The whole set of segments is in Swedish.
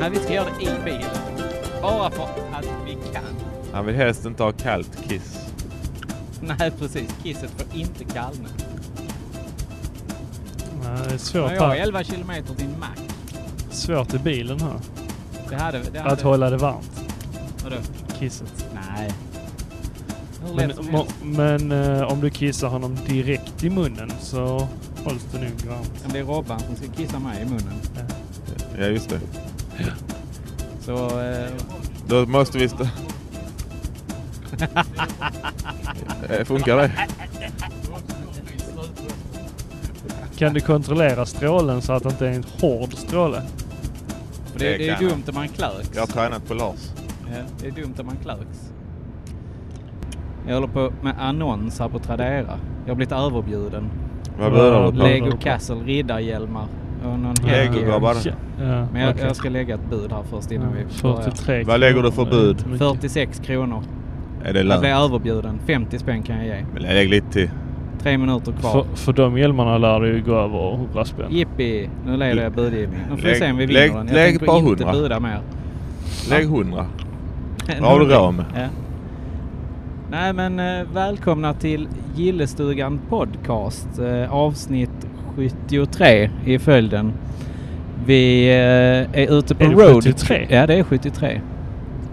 Men vi ska göra det i bilen. Bara för att vi kan. Han vill helst inte ha kallt kiss. Nej, precis. Kisset får inte kallna. Nej, det är svårt, Men jag har här, 11 kilometer till en mack. svårt i bilen här. Det hade... Det hade Att hålla det varmt, Vadå? kisset. Nej. Hur Men, lätt som mo- helst. men eh, om du kissar honom direkt i munnen så hålls det nog varmt. Eh, Men Det är Robban som ska kissa mig i munnen. Ja, just det. Så... Eh, Då måste vi... St- Eh, Funkar det? Kan du kontrollera strålen så att det inte är en hård stråle? för det, Det det är kan jag. dumt om man klöks. Jag har tränat på Lars. Ja, det är dumt om man klöks. Jag håller på med annons här på Tradera. Jag har blivit överbjuden. Vad bjuder du på? Lägg- Lego Castle, riddarhjälmar och någon Lego, headgear. grabbar. Ja, ja, Men jag, okej. jag ska lägga ett bud här först innan vi börjar. 43 Vad lägger du för bud? Mycket. 46 kronor. Är det Jag lönt? blev överbjuden. 50 spänn kan jag ge. Men Lägg lite till. Tre minuter kvar. För, för de hjälmarna lär du ju gå över 100 spänn. Jippi! Nu leder jag budgivningen. Nu får vi Lägg- se om vi vinner lägg- den. Jag lägg ett tänker par inte hundra. buda mer. Lägg hundra. En Vad har du hundring. råd med? Ja. Nej men eh, välkomna till Gillestugan Podcast eh, avsnitt 73 i följden. Vi eh, är ute på Är det road. 73? Ja det är 73.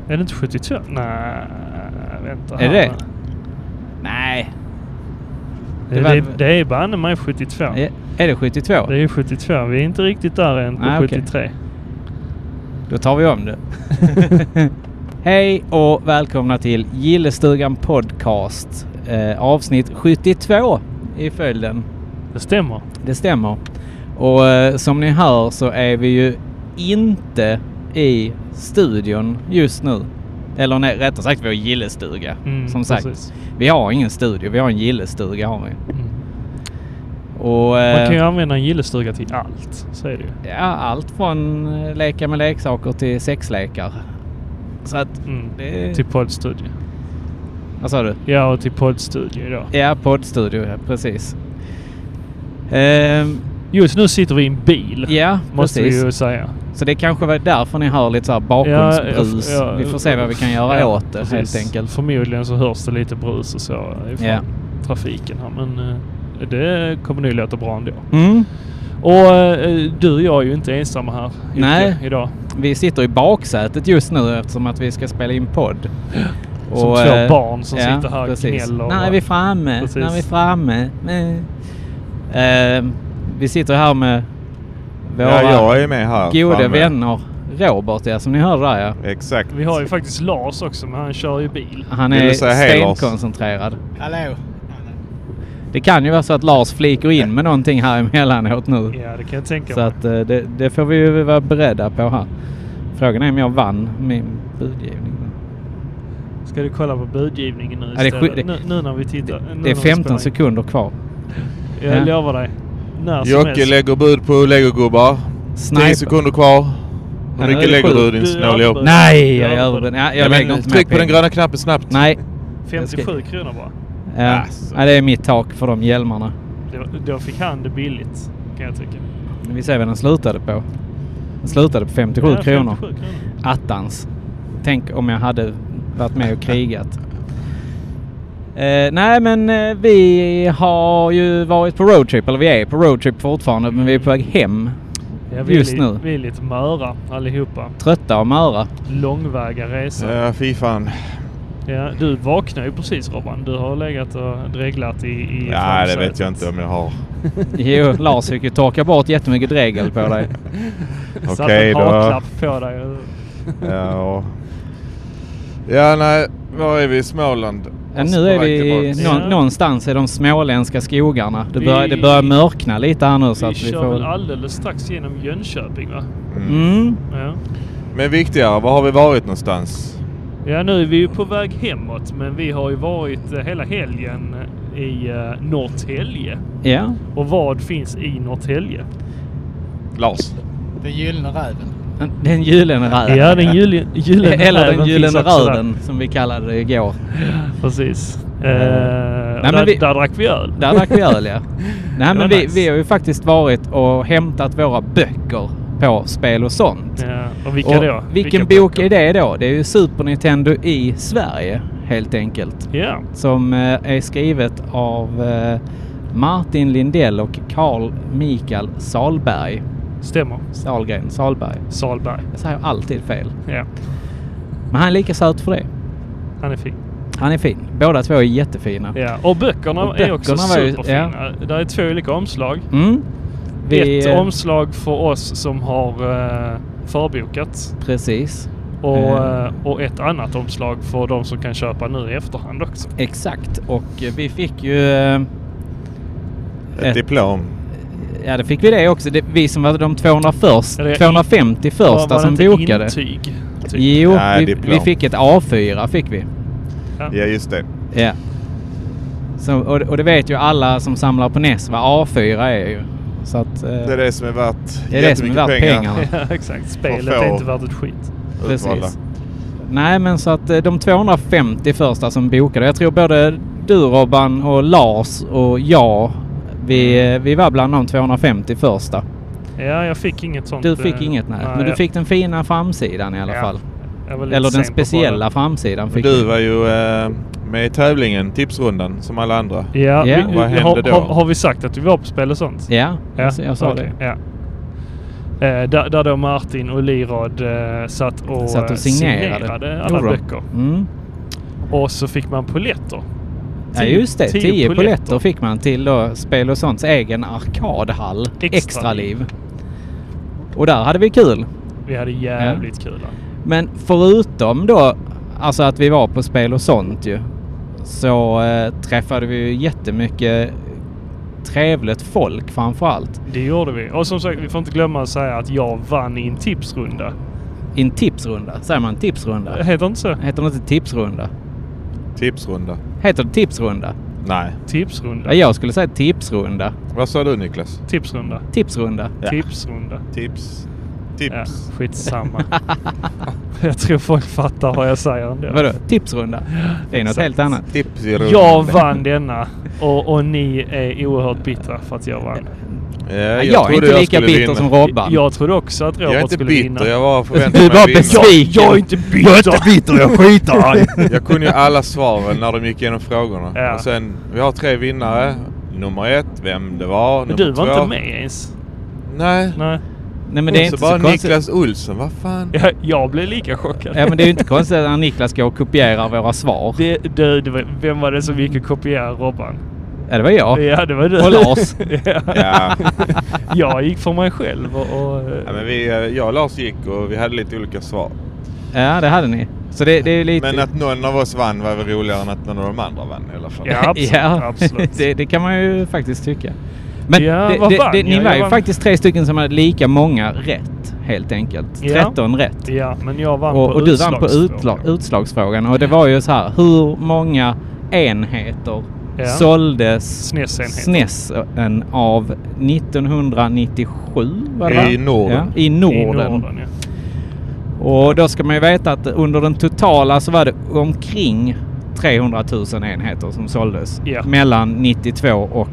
Är det inte 72? Nej, vänta Är här det? nu. Nej. Det, var- det, det är banne mig 72. Är- Är det 72? Det är ju 72. Vi är inte riktigt där än på Nej, Ah, okej. 73. Då tar vi om det. Hej och välkomna till Gillestugan Podcast eh, avsnitt 72 i följden. Det stämmer. Det stämmer. Och eh, som ni hör så är vi ju inte i studion just nu. Eller nej, rättare sagt vår gillestuga. Mm, som sagt, precis. vi har ingen studio, vi har en gillestuga har vi. Mm. Och Man kan ju eh, använda en gillestuga till allt. Så är det ju. ja, allt från eh, leka med leksaker till sexlekar. Så att, Mm. Det- Till poddstudio. vad sa du? Ja, och till poddstudio då. Ja, poddstudio, ja, precis. Ehm, Just nu sitter vi i en bil. ja, Måste precis. vi ju säga. Så det kanske var därför ni hör lite så här bakgrundsbrus. Ja, ja, vi får se vad vi kan göra ja, åt det precis. helt enkelt. Förmodligen så hörs det lite brus och så ifrån Ja. trafiken här. Men eh, det kommer nog låta bra ändå. Mm. Och eh, du och jag är ju inte ensamma här Jocke, Nej. idag. Vi sitter i baksätet just nu eftersom att vi ska spela in podd. Som två eh, barn som sitter här och gnäller. När är vi framme? Precis. När är vi framme? Eh. Eh, vi sitter här med våra Ja, jag är med här. goda framme. vänner. Robert ja, som ni hörde där ja. Exakt. Vi har ju faktiskt Lars också men han kör ju bil. Han Vill är du säga hej, Lars? stenkoncentrerad. Hallå! Det kan ju vara så att Lars fliker in med någonting här emellanåt nu. Ja det kan jag tänka Så mig. att eh, det, det får vi ju vara beredda på här. Frågan är om jag vann min budgivning. Ska du kolla på budgivningen nu Ja, det är istället? sju- det- nu, nu när vi tittar. nu Det när är vi spelar 15 in. sekunder kvar. Jag Ja. lovar dig. När som Jocke helst. lägger bud på legogubbar. 10 Sniper. sekunder kvar. Ja, Hur nu är mycket det lägger sju. du din Du snåla överbudet. jobb? Nej, jag är Ja, över. Nej, Ja, jag men lägger inte Tryck mer på den pengar. gröna knappen snabbt. Nej. 57 kronor bara. Ja. Äh, Alltså. ja, det är mitt tak för de hjälmarna. Det, då fick han det billigt kan jag tycka. Men vi ser vad den slutade på. Den slutade på 57 Ja, 57 kronor. Attans. Tänk om jag hade varit med och krigat. Eh, nej men eh, vi har ju varit på roadtrip, eller vi är på roadtrip fortfarande men vi är på väg hem. Ja, vi är Just li- nu. Vi är lite möra allihopa. Trötta och möra. Långväga resor. Ja. Ja, fy fan. du vaknade ju precis Robban. Du har legat och dreglat i, i Nej, det framsätet. vet jag inte om jag har. Jo, Lars fick ju torka bort jättemycket dregel på dig. Satt Okej en då. haklapp på dig. Ja, och- ja nej. Var är vi? I Småland? Ja, Och så Eh, nu på är väg vi tillbaks. någon- nå, Ja. någonstans i de småländska skogarna. Det Vi- börjar, det börjar mörkna lite här nu så vi att vi kör väl får... alldeles strax genom Jönköping va? Mm. Ja. Men viktigare, var har vi varit någonstans? ja, nu är vi ju på väg hemåt men vi har ju varit eh, hela helgen i eh, Norrtälje. Ja. Och vad finns i Norrtälje? Lars? Den gyllene räven. Den gyllene räven. Ja, den gyllene räven Eller den finns gyllene också där. röven som vi kallade det igår. Precis. Eh, och men där, vi- där drack vi öl. Där drack vi öl ja. Nej var men vi, nice. vi har ju faktiskt varit och hämtat våra böcker på spel och sånt. Ja, och vilka och då? Vilken Vilka bok böcker? är det då? Det är ju Super Nintendo i Sverige helt enkelt. Ja, Som eh, är skrivet av eh, Martin Lindell och Carl Mikael Salberg. stämmer. Salgren Salberg. Salberg. Jag säger alltid fel. Ja, Men han är lika söt för det. han är fin. Han är fin. Båda två är jättefina. Ja, och böckerna Och är också böckerna var ju- superfina. Det är två olika omslag. Mm. Vi, Ett eh, omslag för oss som har eh, förbokat Precis. och, Eh. eh, och ett annat omslag för de som kan köpa nu i efterhand också. Exakt. Och eh, vi fick ju... eh, Ett, Ett. diplom. Ja, det fick vi det också. Det, vi som var de 200 först, Eller- 250 Var- var första det som inte bokade. Intyg, typ? Jo, Nej, vi, diplom. vi fick ett A4 fick vi. Ja, just det. Ja. Så, och, och det vet ju alla som samlar på NES vad A4 är ju. Så att, eh, Det är det som är värt det är det som är värt pengarna. Ja, exakt. Spelet få- är inte värt ett skit. Utvalda. Precis. Nej, men så att eh, de 250 första som bokade. Jag tror både du Robban och Lars och jag. Vi, eh, vi var bland de 250 första. Ja, jag fick inget sånt. Du fick eh, inget nej, men du jag- fick den fina framsidan i alla Ja, fall. jag var lite Eller den sen på bollen. speciella framsidan Men fick du ni. var ju eh, med i tävlingen, tipsrundan, som alla andra. Ja, Ja. vi, Vad hände har, då? har, har vi sagt att vi var på spel och sånt? Ja, jag, Alltså, jag sa okej, Ja. Eh, där, där då Martin och Lirad eh, satt och, det. Så att eh, du signerade. alla Gjorde de. böcker. Mm. Och så fick man poletter. Ja Tio- just det, tio 10 polletter. polletter fick man till då Spel och sånts egen arkadhall. Extra Extraliv. Och där hade vi kul. Vi hade jävligt kul. Men förutom då alltså att vi var på spel och sånt ju. Så eh, träffade vi ju jättemycket trevligt folk framför allt. Det gjorde vi. Och som sagt, vi får inte glömma att säga att jag vann i en tipsrunda. I en tipsrunda. Säger man tipsrunda? Heter det inte så? Heter det inte tipsrunda? Tipsrunda. Heter det tipsrunda? Nej. Tipsrunda. Ja, jag skulle säga tipsrunda. Vad sa du Niklas? Tipsrunda. Tipsrunda. Ja. Tipsrunda. Tips. Ja, Tips. skitsamma. jag tror folk fattar vad jag säger ändå. Vadå? Tipsrunda? Det är något Exakt. helt annat. Tipsrunda. Jag vann denna och, och ni är oerhört bittra för att jag vann. Ja, jag, Jag, är trodde inte lika skulle bitter vinna. som Robban. Jag trodde också att Jag är Robert inte skulle bitter, vinna. jag var förväntad Du mig var vinna. besviken! Jag är inte bitter. Jag är inte bitter, jag skiter arg. Jag kunde ju alla svaren när de gick igenom frågorna. Ja. Och sen, vi har tre vinnare. Nummer ett, vem det var. Men nummer du var två. inte med ens. Nej. Nej. Nej men det är inte bara så konstigt. Niklas Olsson, vad fan? Jag, jag blev lika chockad. Ja men det är ju inte konstigt när Niklas går och kopierar våra svar. Det, du, det var, vem var det som gick och kopierade Robban? Ja det var jag. Ja, det var du. Och Lars. ja. Ja. Jag gick för mig själv och... och ja men vi, eh, jag och Lars gick och vi hade lite olika svar. Ja det hade ni. Så det, det är ju lite... Men att någon av oss vann var väl roligare än att någon av de andra vann i alla fall. Ja. absolut, ja, absolut. det, det kan man ju faktiskt tycka. Men Ja, det, vad det, vann det, jag? ni Jag var ju vann- faktiskt tre stycken som hade lika många rätt helt enkelt. Ja. 13 rätt. ja, men jag vann Och, på och du vann på utla- utslagsfrågan. utslagsfrågan och det var ju så här hur många enheter Ja. såldes SNES-enheter. SNESen av 1997 var det I va? Norden. Ja, i Norden. I Norden, ja. Och då ska man ju veta att under den totala så var det omkring 300 000 enheter som såldes Ja. mellan 92 och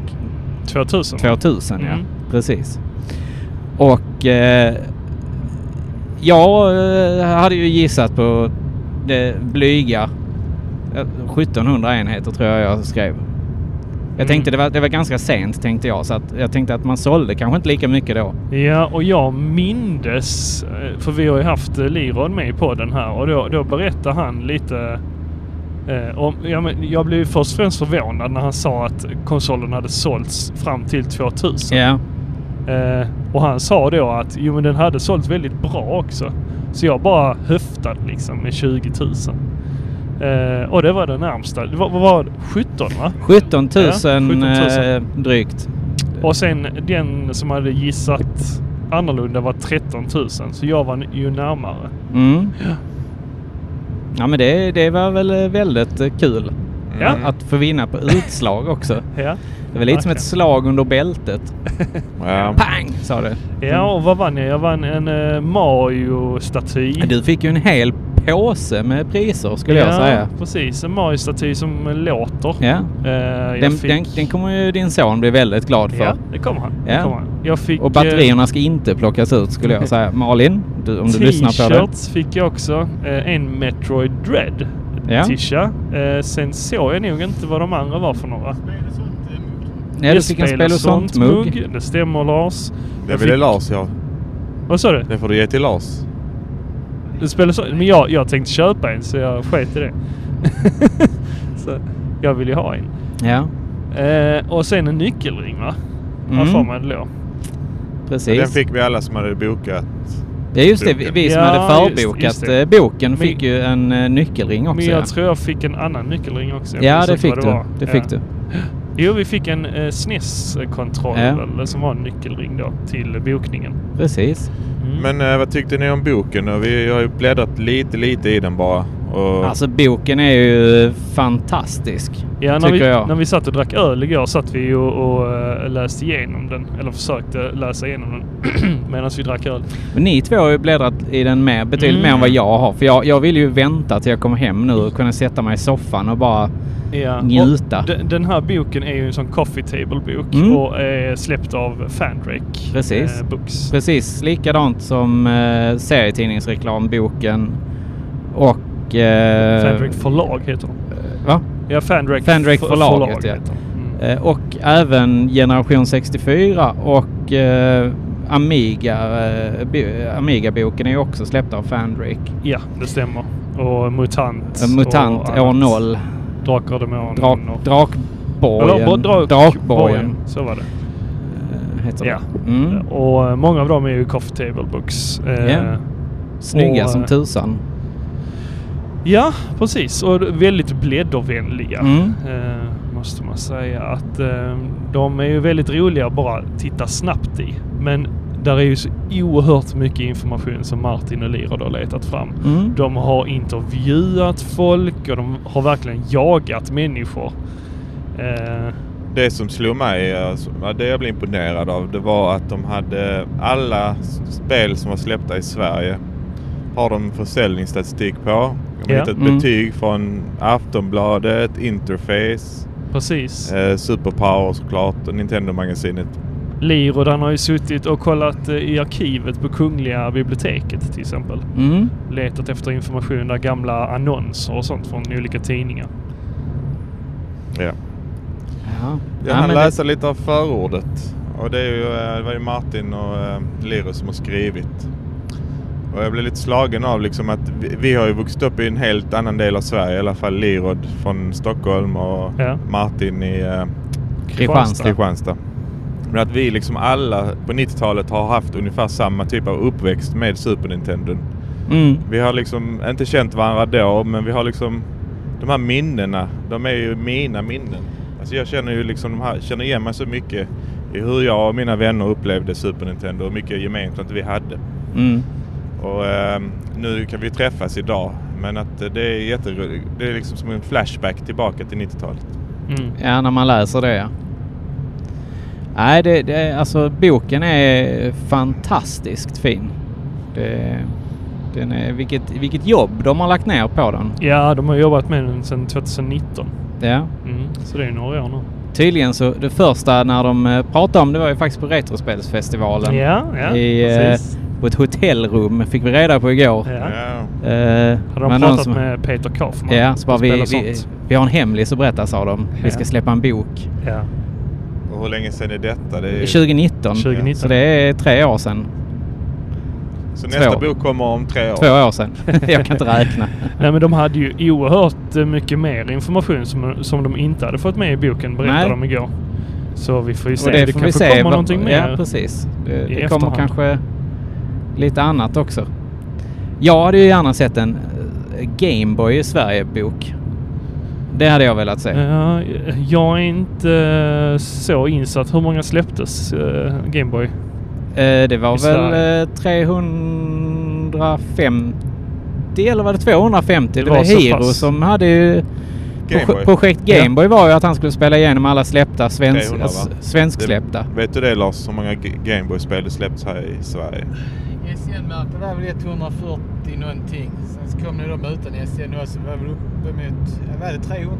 2000. 2000. Ja, Mm. precis. Och eh, jag eh, hade ju gissat på det blyga eh, 1700 enheter tror jag jag skrev. Jag Mm. tänkte det var, det var ganska sent tänkte jag så att jag tänkte att man sålde kanske inte lika mycket då. Ja, och jag mindes, eh, för vi har ju haft eh, Liron med i podden här och då, då berättade han lite eh, om, ja, men jag blev ju först och främst förvånad när han sa att konsolen hade sålts fram till 2000. Ja, Eh, och han sa då att jo men den hade sålt väldigt bra också. Så jag bara höftade liksom med 20 000. Eh, och det var det närmsta. Det var, vad var det? 17 va? 17 000, Ja, 17 000. Eh, drygt. Och sen den som hade gissat annorlunda var 13 000. Så jag var ju närmare. Mm. Ja men det, det var väl eh, väldigt eh, kul Ja. att få vinna på utslag också. Ja. Det var lite som ett Verkligen. slag under bältet. Ja. Pang sa det. Ja, och vad vann jag? Jag vann en eh, Mario-staty. Du fick ju en hel påse med priser skulle jag säga. precis. En Mario-staty som låter. Ja. Eh, jag Den, fick- den, den kommer ju din son bli väldigt glad för. Ja, det kommer han. Det Ja. kommer han. Jag fick, eh, Och batterierna ska inte plockas ut skulle jag säga. Malin, du, om du lyssnar på det. T-shirts fick jag också. Eh, en Metroid Dread Ja. tisha. Eh, sen såg jag nog inte vad de andra var för några. Ja, du fick en spel och sånt mugg. Det stämmer Lars. Det ville Lars ja. Vad sa du? Det får du ge till Lars. Det spelar så, men jag, jag tänkte köpa en så jag sket i det. så jag vill ju ha en. Ja, Eh, och sen en nyckelring va? Vad Mm. får man då? precis. Den fick vi alla som hade bokat. Ja just det, vi vi som Ja, hade just- förbokat just det. eh, boken Men- fick ju en eh, nyckelring också. Men jag ja. tror jag fick en annan nyckelring också. Jag ja minns det inte fick vad du. var. Det Ja. fick du. Jo, vi fick en eh, SNES-kontroll Ja. eller, som var en nyckelring då till eh, bokningen. Precis. Mm. Men eh, vad tyckte ni om boken? Och vi har ju bläddrat lite, lite i den bara. Och Alltså boken är ju fantastisk. ja, när, tycker vi, jag. när vi satt och drack öl igår satt vi ju och, och eh, läste igenom den. Eller försökte läsa igenom den medan vi drack öl. Men ni två har ju bläddrat i den med, betydligt Mm. mer än vad jag har. För jag, jag vill ju vänta till jag kommer hem nu och kunna sätta mig i soffan och bara... Ja. och Njuta. Den, den här boken är ju en sån coffee table-bok Mm. och är släppt av Fandrake Precis. eh, Books. Precis likadant som eh, serietidningsreklamboken och... Eh, Fandrake förlag heter de. Va? Ja, Fandrake, Fandrake f- förlaget, ja. heter de. Mm. Eh, och även Generation 64 och eh, Amiga, eh, bo- Amiga-boken är ju också släppt av Fandrake. Ja, det stämmer. Och MUTANT. En Eh, Mutant och år annat. noll. Drakar och Demoner. Drak, och- Eller, drakborgen. dra- Drakborgen. Så var det. eh, Heter Ja. det. Mm. Och eh, många av dem är ju Coffee Table Books. Eh, Ja. Snygga Och, som eh, tusan. Ja, precis. Och väldigt bläddervänliga. Mm. Eh, måste man säga. Att eh, de är ju väldigt roliga att bara titta snabbt i. Men där är ju så oerhört mycket information som Martin och Lirad har letat fram. Mm. De har intervjuat folk och de har verkligen jagat människor. Eh, det som slog mig, alltså, ja, det jag blev imponerad av, det var att de hade alla s- spel som var släppta i Sverige har de försäljningsstatistik på. De har Ja. hittat Mm. betyg från Aftonbladet, Interface, precis. eh, Superpower såklart och Nintendo-magasinet. Lirod han har ju suttit och kollat eh, i arkivet på Kungliga biblioteket till exempel. Mm. Letat efter information där gamla annonser och sånt från olika tidningar. Ja. Ja. Jag Ja, hann men läsa lite av förordet. Och det, är ju, eh, det var ju Martin och eh, Lirus som har skrivit. Och jag blev lite slagen av liksom att vi, vi har ju vuxit upp i en helt annan del av Sverige. I alla fall Lirod från Stockholm och Ja. Martin i eh, Kristianstad. Kristianstad. Men att vi liksom alla på 90-talet har haft ungefär samma typ av uppväxt med Super Nintendo. det- Mm. Vi har liksom inte känt varandra då, men vi har liksom de här minnena, de är ju mina minnen. Alltså jag känner ju liksom de här, känner igen mig så mycket i hur jag och mina vänner upplevde Super Nintendo och mycket gemensamt vi hade. Mm. Och ehm, nu kan vi träffas idag, men att eh, det är jätteroligt. Det är liksom som en flashback tillbaka till 90-talet. Mm. Ja, när man läser det ja. Nej, det, det, alltså boken är fantastiskt fin. Det, den är, vilket, vilket jobb de har lagt ner på den. Ja, de har jobbat med den sedan 2019. Ja. Mm. Så det är ju några år nu. Tydligen så, det första när de eh, pratade om det var ju faktiskt på Retrospelsfestivalen. Ja, ja I, eh, precis. på ett hotellrum fick vi reda på igår. Ja. Ja. Eh, Hade de men någon pratat som- med Peter Kaufman? Ja, så bara, och vi, spelat vi, sånt? vi har en hemlis att berätta sa de. Vi ska Ja. släppa en bok. Ja. Och hur länge sedan är detta? Det Eh, är 2019. 2019. Så det är tre år sedan. Så nästa två. bok kommer om tre år. Två år sedan. Jag kan inte räkna. Nej men de hade ju oerhört eh, mycket mer information som, som de inte hade fått med i boken berättade Nej. de igår. Så vi får ju se. Och Det, det det får vi kanske se. kommer vad- någonting mer. Ja, precis. Det, i det kommer efterhand. kanske lite annat också. Jag hade ju gärna sett en eh, Gameboy i Sverige-bok. Det hade jag velat se. Ja, jag är inte eh, så insatt. Hur många släpptes eh, Gameboy? Eh, det var I väl eh, 350 eller var det 250? Det Det, var var, så Hero pass. som hade ju... Gameboy. Proje- Projekt Gameboy var ju att han skulle spela igenom alla släppta svensk, 300, va? svensksläppta. Vet du det Lars, hur många G- Gameboy-spel det släppts här i Sverige? SN-märket var väl 140 någonting. Sen så kom det de utan SN också. Det var väl uppemot, vad är det, 300?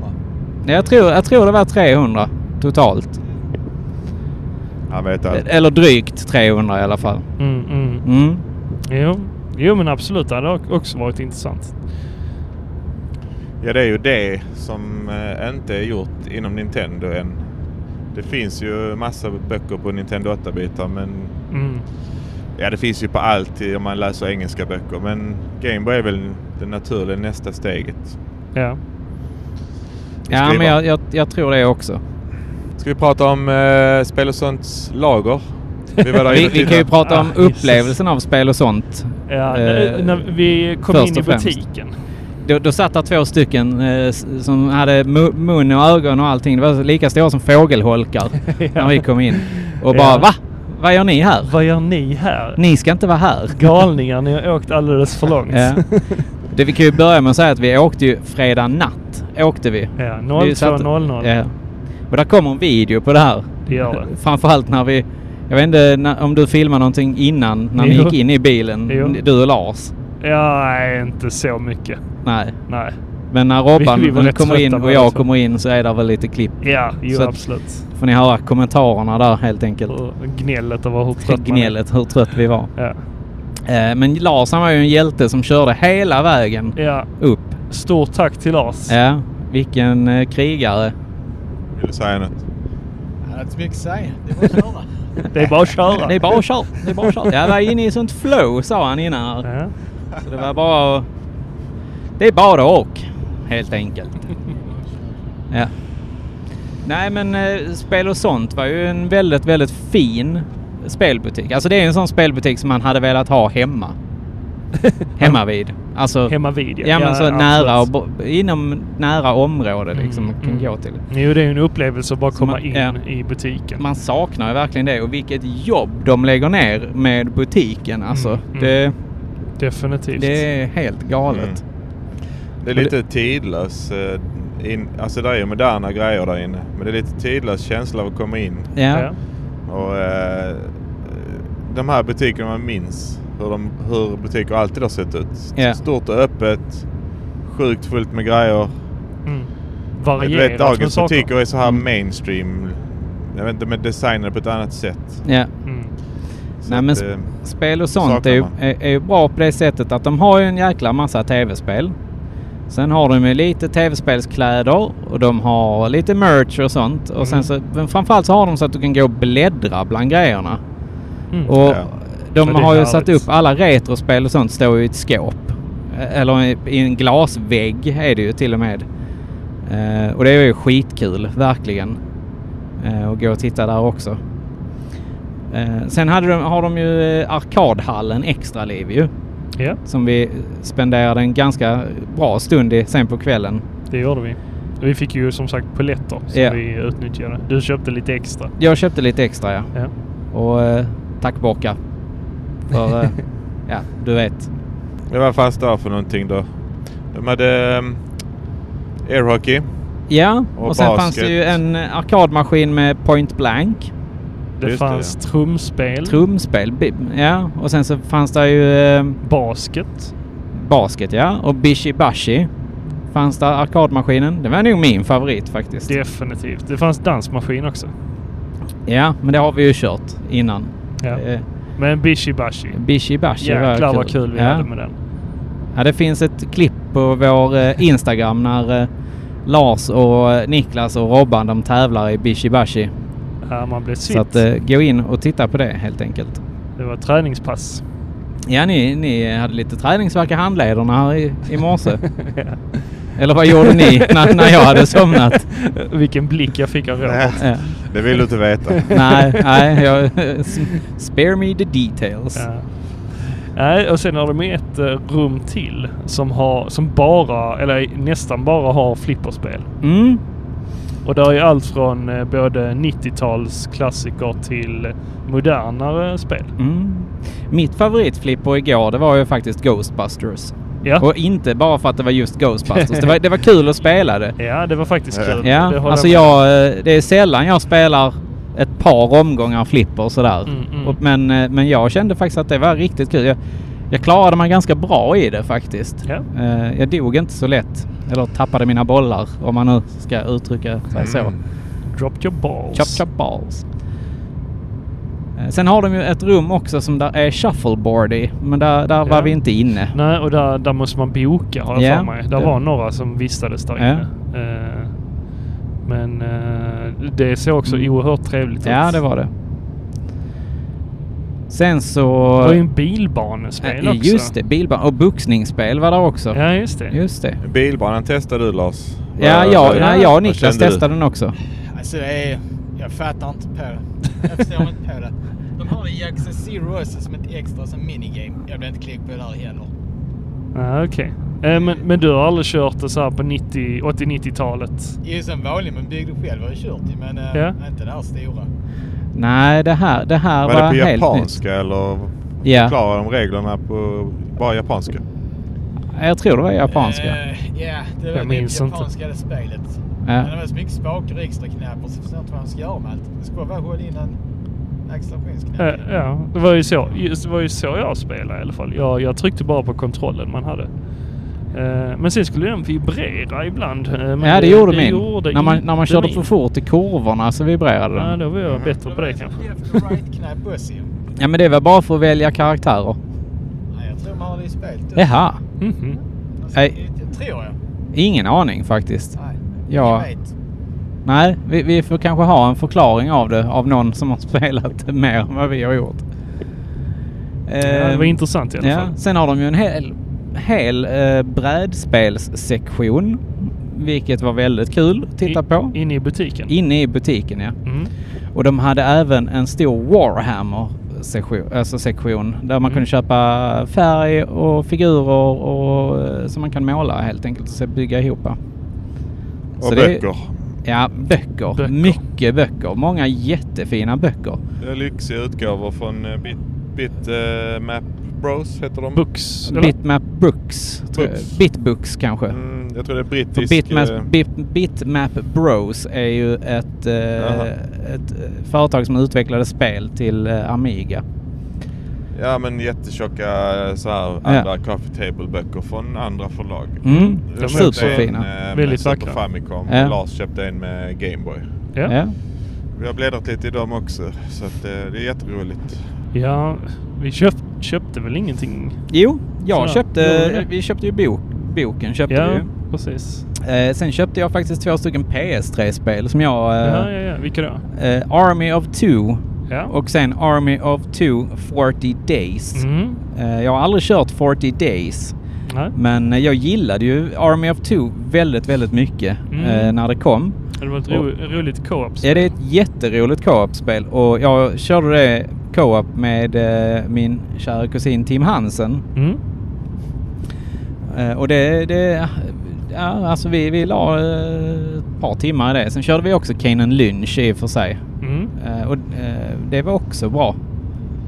Nej, Jag tror, jag tror det var 300 totalt. Han vet allt. Eller drygt 300 i alla fall. Mm, mm. Mm. Jo. jo, men absolut. Det hade o- också varit intressant. Ja, det är ju det som eh, inte är gjort inom Nintendo än. Det finns ju massa böcker på Nintendo 8-bitar, men Mm. ja, det finns ju på allt i- om man läser engelska böcker. Men Gameboy är väl det naturliga nästa steget. Ja. Ja, Skriva. men jag, jag, jag tror det också. Ska vi prata om eh, Spel och sånts lager? Vi var där Vi, inne vi kan ju tidigare. prata om Ah, Jesus. upplevelsen av spel och sånt. ja Eh, när vi kom först in i och främst. butiken. Då, då satt där två stycken eh, s- som hade mu- mun och ögon och allting. Det var lika stora som fågelholkar när vi kom in. Och bara Ja. va? Vad gör ni här? Vad gör ni här? Ni ska inte vara här. Galningar, ni har åkt alldeles för långt. Ja. Det, vi kan ju börja med att säga att vi åkte ju fredag natt. Åkte vi. Ja, Vi satt- 02.00. Ja. Och där kommer en video på det här. Det gör det. Framförallt när vi... Jag vet inte när, om du filmade någonting innan när ni Jo. gick in i bilen. Jo. Du och Lars. Ja, nej, inte så mycket. Nej. Nej. Men när Robban Vi- vi var rätt kommer in trötta och jag båda två. kommer in så är det väl lite klipp. Ja, jo Så att- absolut. Får ni höra kommentarerna där helt enkelt. Och gnället över hur trött man är. Gnället hur trött vi var. Ja. Eh, men Lars han var ju en hjälte som körde hela vägen ja, upp. stort tack till Lars. Ja, vilken eh, krigare. Vill du säga något? Jag hade inte så mycket att säga. Det var att köra. Det är bara att köra. Det är bara att köra. Det är bara att köra. Jag var inne i sånt flow sa han innan. här. Ja. Så det var bara att... Det är bara att åk helt enkelt. Ja. Nej men eh, Spel och sånt var ju en väldigt, väldigt fin spelbutik. Alltså det är en sån spelbutik som man hade velat ha hemma. hemma vid. Alltså, Hemma vid ja. men så absolut. nära och bo- inom nära område liksom Mm, man kan mm. gå till. Jo, det är ju en upplevelse att bara komma man- in ja. i butiken. Man saknar ju verkligen det och vilket jobb de lägger ner med butiken alltså. Mm, mm. Det, Definitivt. det är helt galet. Mm. Det är lite tidlös. eh, In, alltså det är ju moderna grejer där inne. Men det är lite tidlös känsla av att komma in. Ja. Ja. Och, eh, de här butikerna man minns hur, de, hur butiker alltid har sett ut. Ja. Stort och öppet. Sjukt fullt med grejer. Mm. du Varierat vet med dagens saker. butiker är så här Mm. mainstream. Jag vet inte, men designade på ett annat sätt. Ja. Mm. Så Nej, men att, sp- eh, Spel och sånt är Saknar ju, man. är, är ju bra på det sättet att de har ju en jäkla massa tv-spel. Sen har de ju lite tv-spelskläder och de har lite merch och sånt. Och sen Mm. så, men framförallt så har de så att du kan gå och bläddra bland grejerna. Mm. Och Ja. de Ja, det är har ju härligt. satt upp alla retrospel och sånt står ju i ett skåp. Eh, Eller i- i en glasvägg är det ju till och med. Eh, och det är ju skitkul, verkligen. Eh, och gå och titta där också. Eh, sen hade de, har de ju eh, arkadhallen extra liv ju. ja, Som vi spenderade en ganska bra stund i sen på kvällen. det gjorde vi. Vi fick ju som sagt poletter som Ja. vi utnyttjade. Du köpte lite extra. Jag köpte lite extra ja. Ja. Och eh, tack Bocka. För, eh, ja, du vet. Jag var fast där för någonting då. De hade eh, um, airhockey. Ja, och, Och sen fanns basket. det ju en eh, arkadmaskin med point blank. Det Just det, fanns ja. trumspel, Trumspel. bi- Ja, och sen så fanns det ju eh, basket. basket, ja. Och Bishi Bashi fanns där, arkadmaskinen. Det var nog min favorit faktiskt. Definitivt. Det fanns dansmaskin också. Ja, men det har vi ju kört innan. Ja. Eh, Men bishi bashi. Bishi Bashi Jäklar vad kul vi ja. hade med den. Ja, det finns ett klipp på vår eh, Instagram när eh, Lars och eh, Niklas och Robban de tävlar i Bishi Bashi. Ja, man blev sitt. Så att eh, gå in och titta på det helt enkelt. Det var träningspass. Ja, ni, ni hade lite träningsvärk i handlederna här i, i morse. Eller vad gjorde ni när, när jag hade somnat? Vilken blick jag fick av Robert. Ja. Det vill du inte veta. Nej, nej. Jag, spare me the details. Ja. Nej, och sen har de ett eh, rum till som, har, som bara, eller nästan bara har flipperspel. Mm. Och där är allt från eh, både 90-talsklassiker till modernare spel. Mm. Mitt favoritflipper igår det var ju faktiskt Ghostbusters. Ja, Och inte bara för att det var just Ghostbusters. Det var, det var kul att spela det. ja det var faktiskt kul. Ja, det håller alltså med om. jag, eh, det är sällan jag spelar eh, ett par omgångar flipper och sådär. Mm, mm. Och, men, eh, men jag kände faktiskt att det var riktigt kul. Jag, jag klarade mig ganska bra i det faktiskt. Ja. Eh, jag dog inte så lätt. Eller tappade mina bollar om man nu ska uttrycka sig så. Mm. Drop your balls. Chop chop balls. Eh, Sen har de ju ett rum också som där är shuffleboard i. Men där, där Ja. var vi inte inne. Nej, och där, där måste man boka har jag Ja, för mig. Där det- var några som vistades där Ja. inne. Eh, men eh, det såg också Mm. oerhört trevligt ut. Ja, det var det. Sen så... Det var ju en bilbanespel Eh, också. Just det, bilbana. Och boxningsspel var där också. Ja, just det. Just det. Bilbanan testade du Lars. Ja, Vad- jag, vad- nej, jag och vad Niklas kände du? testade den också. Alltså det är, jag fattar inte på det. Jag förstår inte på det. De har det i Jackson Zero också som ett extra, som minigame. Jag blir inte klick på det där heller. Ja, okej. Eh, men, men du har aldrig kört det så här på 90, 80-90-talet? Det är ju som vanligt, man byggde själv har jag kört ju, men eh, Ja. inte det här stora. Nej, det här, det här var, Var det på helt japanska eller nytt. Ja, förklarade de reglerna på bara japanska? jag tror det var japanska. Eh, Ja, det var Jag det minns inte. japanska det spelet. Ja. Men det var så mycket spakar och extra knappar så jag förstår inte vad man ska göra med allt. Det skulle bara hålla in en accelerationsknapp. Eh, ja, det var, ju så, just, det var ju så jag spelade i alla fall. Jag, jag tryckte bara på kontrollen man hade. Eh, men sen skulle den vibrera ibland. eh, men ja, det gjorde min. gjorde när, man, inte när man körde min. för fort i kurvorna så vibrerade Ja, den. då var jag Mm. bättre på det kanske. Left och right-knapp också ju. Ja, men det var bara för att välja karaktärer. Nej, jag tror man har det i spelet. Jaha. Mhm. Alltså, Nej. det Tror jag. Ingen aning faktiskt. Nej. Ja. Jag vet. Nej, vi, vi får kanske ha en förklaring av det av någon som har spelat det mer än vad vi har gjort. Ja, det var Ehm, intressant i alla Ja, fall. sen har de ju en hel, hel eh, brädspelssektion. Vilket var väldigt kul att titta I- på. Inne i butiken. Inne i butiken ja. Mm. Och de hade även en stor Warhammer sektion, alltså sektion där man Mm. kunde köpa färg och figurer och, eh, som man kan måla helt enkelt och så bygga ihop. Och Så det- böcker. Ja, böcker. Böcker. Mycket böcker. Många jättefina böcker. Det... är Lyxiga utgåvor från eh, Bit, Bit eh, Map Bros heter de. Books. eller? Bitmap Books. tror jag. Books. Bitbooks kanske. Mm, jag tror det är För brittisk... Bitmap, eh, Bit, Bitmap Bros är ju ett, eh, Jaha. ett eh, företag som utvecklade spel till eh, Amiga. Ja men jättetjocka eh, så här andra coffee table böcker från andra förlag. Mm. Jag köpte Superfina. En, eh, med Väldigt Super vackra. Famicom. Ja. Lars köpte en med Gameboy. Ja. Ja. Vi har bläddrat lite i dem också så att, eh, det är jätteroligt. ja, vi köpt, köpte väl ingenting? Jo, jag Så, gjorde köpte, du? vi köpte ju bok, boken. Köpte ja, vi ju. precis. Eh, sen köpte jag faktiskt två stycken PS3-spel som jag... Eh, Ja, ja, ja. Vilka då? eh, Army of Two Ja. och sen Army of Two 40 Days. Mm. Eh, jag har aldrig kört 40 Days. Nej. Men eh, jag gillade ju Army of Two väldigt, väldigt mycket Mm. eh, när det kom. Det var ett ro, roligt co-op. Ja, det är ett jätteroligt co-op-spel och jag körde det co-op med eh, min kära kusin Tim Hansen. Mm. Eh, och det, det ja, alltså vi, vi la eh, ett par timmar i det. Sen körde vi också Kanan Lynch i och för sig. Mm. Eh, och eh, det var också bra.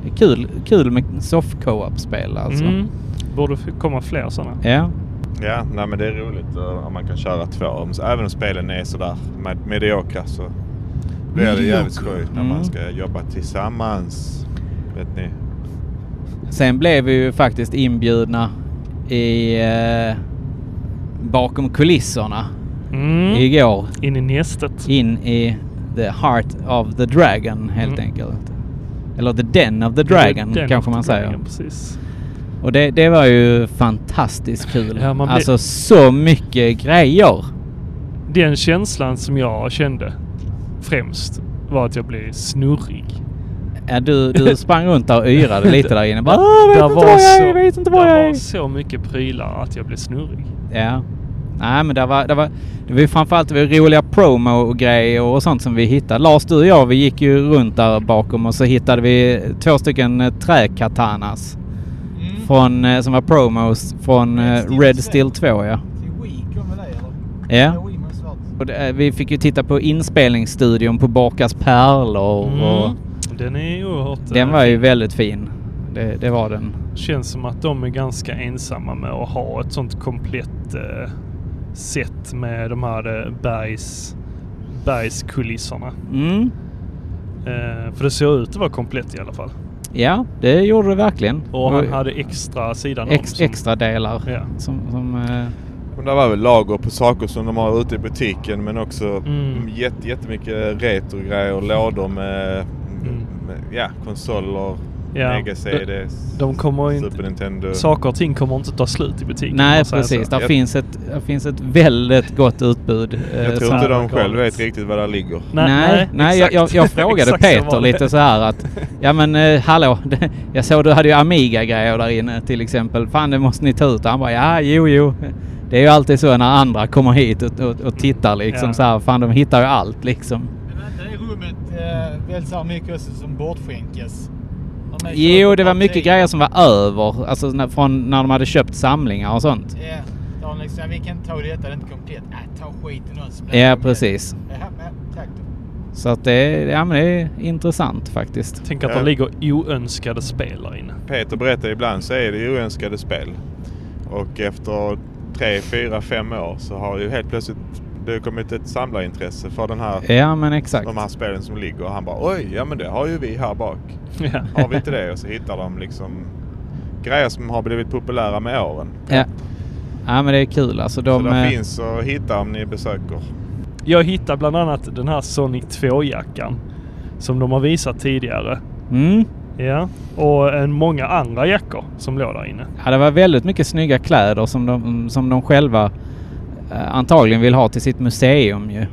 Det är kul, kul med soft co-op-spel alltså. Mm. Borde f- komma fler sådana. Ja. Ja, nej, men det är roligt eh, om man kan köra två. Om- så Även om spelen är sådär med, mediokra så blir det jävligt skoj när Mm. man ska jobba tillsammans. Vet ni? Sen blev vi ju faktiskt inbjudna i eh, bakom kulisserna Mm. igår In i nästet. in i the heart of the dragon helt Mm. enkelt. Eller the den of the dragon Den kanske och man säger. dragon, Precis. Och det, det var ju fantastiskt kul. Ja, man blir- alltså så mycket grejer. Den känslan som jag kände främst var att jag blev snurrig. Ja, du, du sprang runt där och yrade lite där inne. Bara, "Åh, jag Där vet inte var jag är, jag vet inte var där jag var är. så mycket prylar att jag blev snurrig. Ja. Nej men det var, det var, det var ju framförallt det var ju roliga promo-grejer och sånt som vi hittade. Lars, du och jag, vi gick ju runt där bakom och så hittade vi två stycken eh, träkatanas. Mm. Från, eh, som var promos från eh, Red Steel Red 2. Steel 2 ja. Till Wii kom väl det eller? Ja. Wii med svart. Och det, eh, vi fick ju titta på inspelningsstudion på Bakas pärlor och Mm. Den är oerhört... den eh, var ju väldigt fin. Det, det var den. Känns som att de är ganska ensamma med att ha ett sånt komplett eh, set med de här eh, bergs, bergskulisserna. Mm. Eh, för det såg ut att vara komplett i alla fall. Ja, det gjorde det verkligen. Och han hade extra sidan om. ex, som- extra delar. Ja. Som, som, eh, Men det var väl lager på saker som de har ute i butiken men också Mm. jätte, jättemycket retrogrejer, lådor med, Mm. med ja, konsoler, Ja. Mega CD, de kommer ju Super inte- Nintendo. Saker och ting kommer inte ta slut i butiken. om nej, man säger precis. så. Där Jag- finns, ett, där finns ett väldigt gott utbud. eh, Jag tror som- inte de här själva galet. vet riktigt var det ligger. Nej, nej, jag, jag, exakt. jag frågade Exakt så Peter var det. lite så här att ja men eh, hallå, det, jag såg du hade ju Amiga-grejer där inne till exempel. Fan det måste ni ta ut. Han bara ja, jo, jo. Det är ju alltid så när andra kommer hit och, och, och tittar liksom Ja. så här. Fan de hittar ju allt liksom. Men var inte det rummet eh, väl så här mycket också som bortskänkes? De är Jo, köpa det var mycket batterier. grejer som var över. Alltså när, från när de hade köpt samlingar och sånt. Ja, de liksom, "Ja, vi kan inte ta detta, det är inte komplett. Äh, ta skiten och så blir det Ja, komplett." precis. Jaha, men tack då. Så att det, ja, men det är intressant faktiskt. Tänk att Ja. det ligger oönskade spel där inne. Peter berättar ibland så är det ju oönskade spel. Och efter tre, fyra, fem år så har ju helt plötsligt det kommit ett samlarintresse för den här, Ja, men exakt. de här spelen som ligger. Och han bara oj, ja men det har ju vi här bak. Ja. Har vi inte det? Och så hittar de liksom grejer som har blivit populära med åren. Ja. ja, men det är kul alltså. så De, där eh, finns att hitta om ni besöker. Jag hittade bland annat den här Sonic 2-jackan som de har visat tidigare. mm. Ja, och en många andra jackor som låg där inne. Ja, det var väldigt mycket snygga kläder som de, som de själva eh, antagligen vill ha till sitt museum ju.